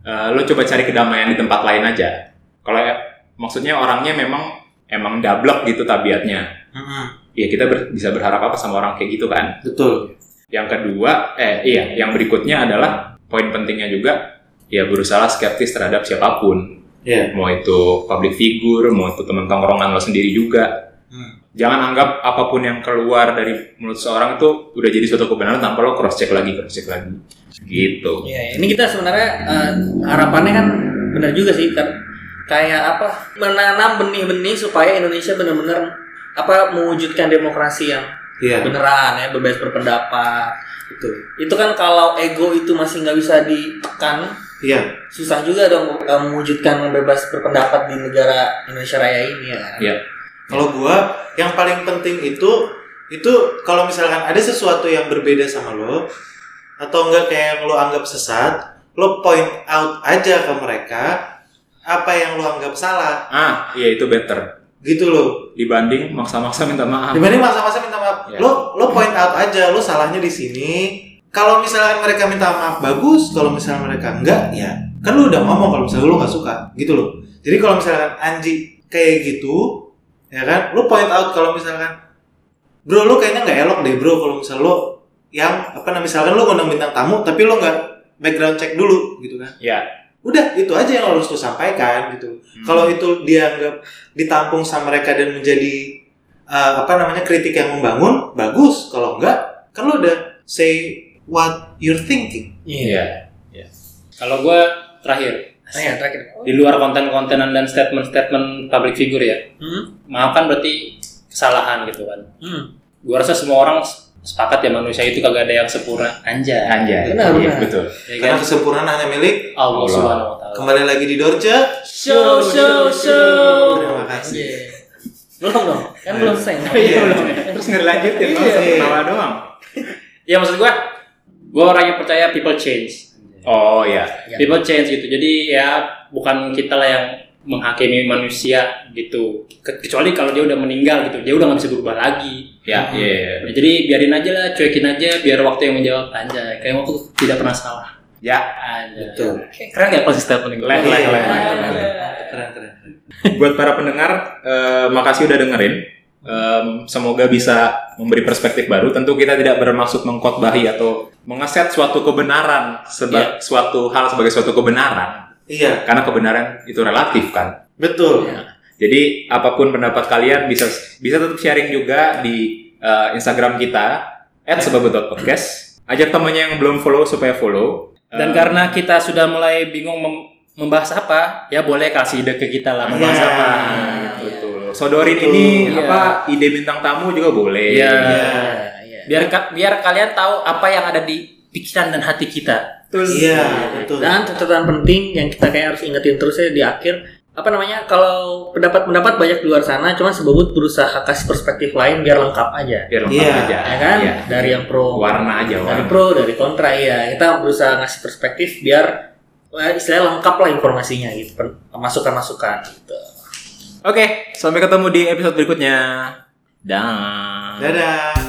[SPEAKER 2] Eh, lo coba cari kedamaian di tempat lain aja kalau ya, maksudnya orangnya memang emang dablek gitu tabiatnya
[SPEAKER 1] Mm-mm.
[SPEAKER 2] ya kita ber- bisa berharap apa sama orang kayak gitu kan
[SPEAKER 1] betul
[SPEAKER 2] yang kedua eh iya yang berikutnya adalah poin pentingnya juga ya berusaha skeptis terhadap siapapun
[SPEAKER 1] ya
[SPEAKER 2] mau itu public figure mau itu teman tongkrongan lo sendiri juga Hmm. jangan anggap apapun yang keluar dari mulut seorang itu udah jadi suatu kebenaran tanpa lo cross check lagi cross check lagi gitu
[SPEAKER 4] Iya, ini kita sebenarnya eh, harapannya kan benar juga sih kan kayak apa menanam benih-benih supaya Indonesia benar-benar apa mewujudkan demokrasi yang
[SPEAKER 1] Iya.
[SPEAKER 4] beneran ya bebas berpendapat itu itu kan kalau ego itu masih nggak bisa ditekan
[SPEAKER 1] Iya.
[SPEAKER 4] susah juga dong eh, mewujudkan bebas berpendapat di negara Indonesia Raya ini ya kan?
[SPEAKER 2] ya
[SPEAKER 1] Kalau gua yang paling penting itu itu kalau misalkan ada sesuatu yang berbeda sama lo atau enggak kayak yang lo anggap sesat, lo point out aja ke mereka apa yang lo anggap salah
[SPEAKER 2] ah iya itu better
[SPEAKER 1] gitu lo.
[SPEAKER 2] dibanding maksa-maksa minta maaf
[SPEAKER 1] Dibanding masa-masa minta maaf,
[SPEAKER 2] Ya.
[SPEAKER 1] lo lo point out aja lo salahnya di sini. Kalau misalkan mereka minta maaf bagus, kalau misalkan mereka enggak ya kan lo udah ngomong kalau misalkan lo nggak suka gitu lo. Jadi kalau misalkan Anji kayak gitu ya kan, lo point out kalau misalkan bro lo kayaknya nggak elok deh bro kalau misal lo yang apa namanya misalkan lo ngundang bintang tamu tapi lo nggak background check dulu gitu kan
[SPEAKER 2] ya
[SPEAKER 1] udah itu aja yang harus lo sampaikan gitu
[SPEAKER 2] Hmm.
[SPEAKER 1] kalau itu dianggap ditampung sama mereka dan menjadi eh, apa namanya kritik yang membangun bagus kalau enggak kan lo udah say what you're thinking
[SPEAKER 2] iya
[SPEAKER 5] Kalau gue terakhir
[SPEAKER 4] Nah, ya, terakhir
[SPEAKER 5] di luar konten-kontenan dan statement-statement public figure ya,
[SPEAKER 4] Hmm,
[SPEAKER 5] maaf kan berarti kesalahan gitu kan.
[SPEAKER 4] hmm.
[SPEAKER 5] Gue rasa semua orang sepakat ya manusia itu kagak ada yang sempurna. Anjay.
[SPEAKER 2] anjay Iya,
[SPEAKER 4] Benar, benar.
[SPEAKER 2] betul
[SPEAKER 5] Ya
[SPEAKER 1] karena
[SPEAKER 5] kan?
[SPEAKER 1] kesempurnaan hanya milik
[SPEAKER 5] Allah Subhanahu wa taala.
[SPEAKER 1] kembali lagi di Dorce
[SPEAKER 4] show show show
[SPEAKER 1] terima kasih
[SPEAKER 4] Yeah. Belum dong, kan belum selesai.
[SPEAKER 2] Terus nggak dilanjutin,
[SPEAKER 1] Iya.
[SPEAKER 2] malah satu ketawa doang.
[SPEAKER 5] ya maksud gua gua orang yang percaya people change
[SPEAKER 2] Oh iya.
[SPEAKER 4] Ya.
[SPEAKER 5] people change gitu jadi ya bukan kita lah yang menghakimi manusia gitu Ke- kecuali kalau dia udah meninggal gitu dia udah nggak bisa berubah lagi
[SPEAKER 2] Ya, iya. iya.
[SPEAKER 5] Ya, jadi biarin aja lah cuekin aja biar waktu yang menjawab aja kayak waktu tidak pernah salah
[SPEAKER 2] Ya,
[SPEAKER 5] aja
[SPEAKER 4] Betul.
[SPEAKER 5] keren nggak konsisten paling
[SPEAKER 2] leh leh leh.
[SPEAKER 4] Iya,
[SPEAKER 2] leh.
[SPEAKER 4] Keren keren.
[SPEAKER 2] Buat para pendengar, eh, makasih udah dengerin. Em, semoga bisa memberi perspektif baru. Tentu kita tidak bermaksud mengkotbahi atau mengeset suatu kebenaran
[SPEAKER 5] Iya.
[SPEAKER 2] sebagai suatu hal sebagai suatu kebenaran.
[SPEAKER 1] Iya,
[SPEAKER 2] Karena kebenaran itu relatif kan.
[SPEAKER 1] betul.
[SPEAKER 2] Jadi apapun pendapat kalian bisa bisa tetap sharing juga di eh, Instagram kita @sebabut.podcast. Ajak temannya yang belum follow supaya follow. Eh,
[SPEAKER 5] dan karena kita sudah mulai bingung mem- membahas apa ya boleh kasih ide ke kita lah membahas
[SPEAKER 1] Iya.
[SPEAKER 5] apa
[SPEAKER 2] Nah, betul. Sodorin ini
[SPEAKER 5] Iya.
[SPEAKER 2] apa ide bintang tamu juga boleh. gitu.
[SPEAKER 5] Iya.
[SPEAKER 4] Iya.
[SPEAKER 5] biar ka- biar kalian tahu apa yang ada di pikiran dan hati kita
[SPEAKER 2] Terus
[SPEAKER 1] Iya, betul.
[SPEAKER 4] Dan catatan penting yang kita kayak harus ingetin terus ya di akhir apa namanya kalau pendapat-pendapat banyak di luar sana cuman sebut berusaha kasih perspektif lain biar lengkap aja
[SPEAKER 2] biar lengkap
[SPEAKER 1] Iya.
[SPEAKER 2] aja.
[SPEAKER 4] ya kan
[SPEAKER 2] Iya.
[SPEAKER 4] dari yang pro
[SPEAKER 2] Warna aja
[SPEAKER 4] dari
[SPEAKER 2] warna.
[SPEAKER 4] pro dari kontra ya kita berusaha ngasih perspektif biar eh, istilahnya lengkap lah informasinya gitu pen- masukan-masukan gitu
[SPEAKER 2] Oke, sampai ketemu di episode berikutnya. Dah.
[SPEAKER 1] Dadah.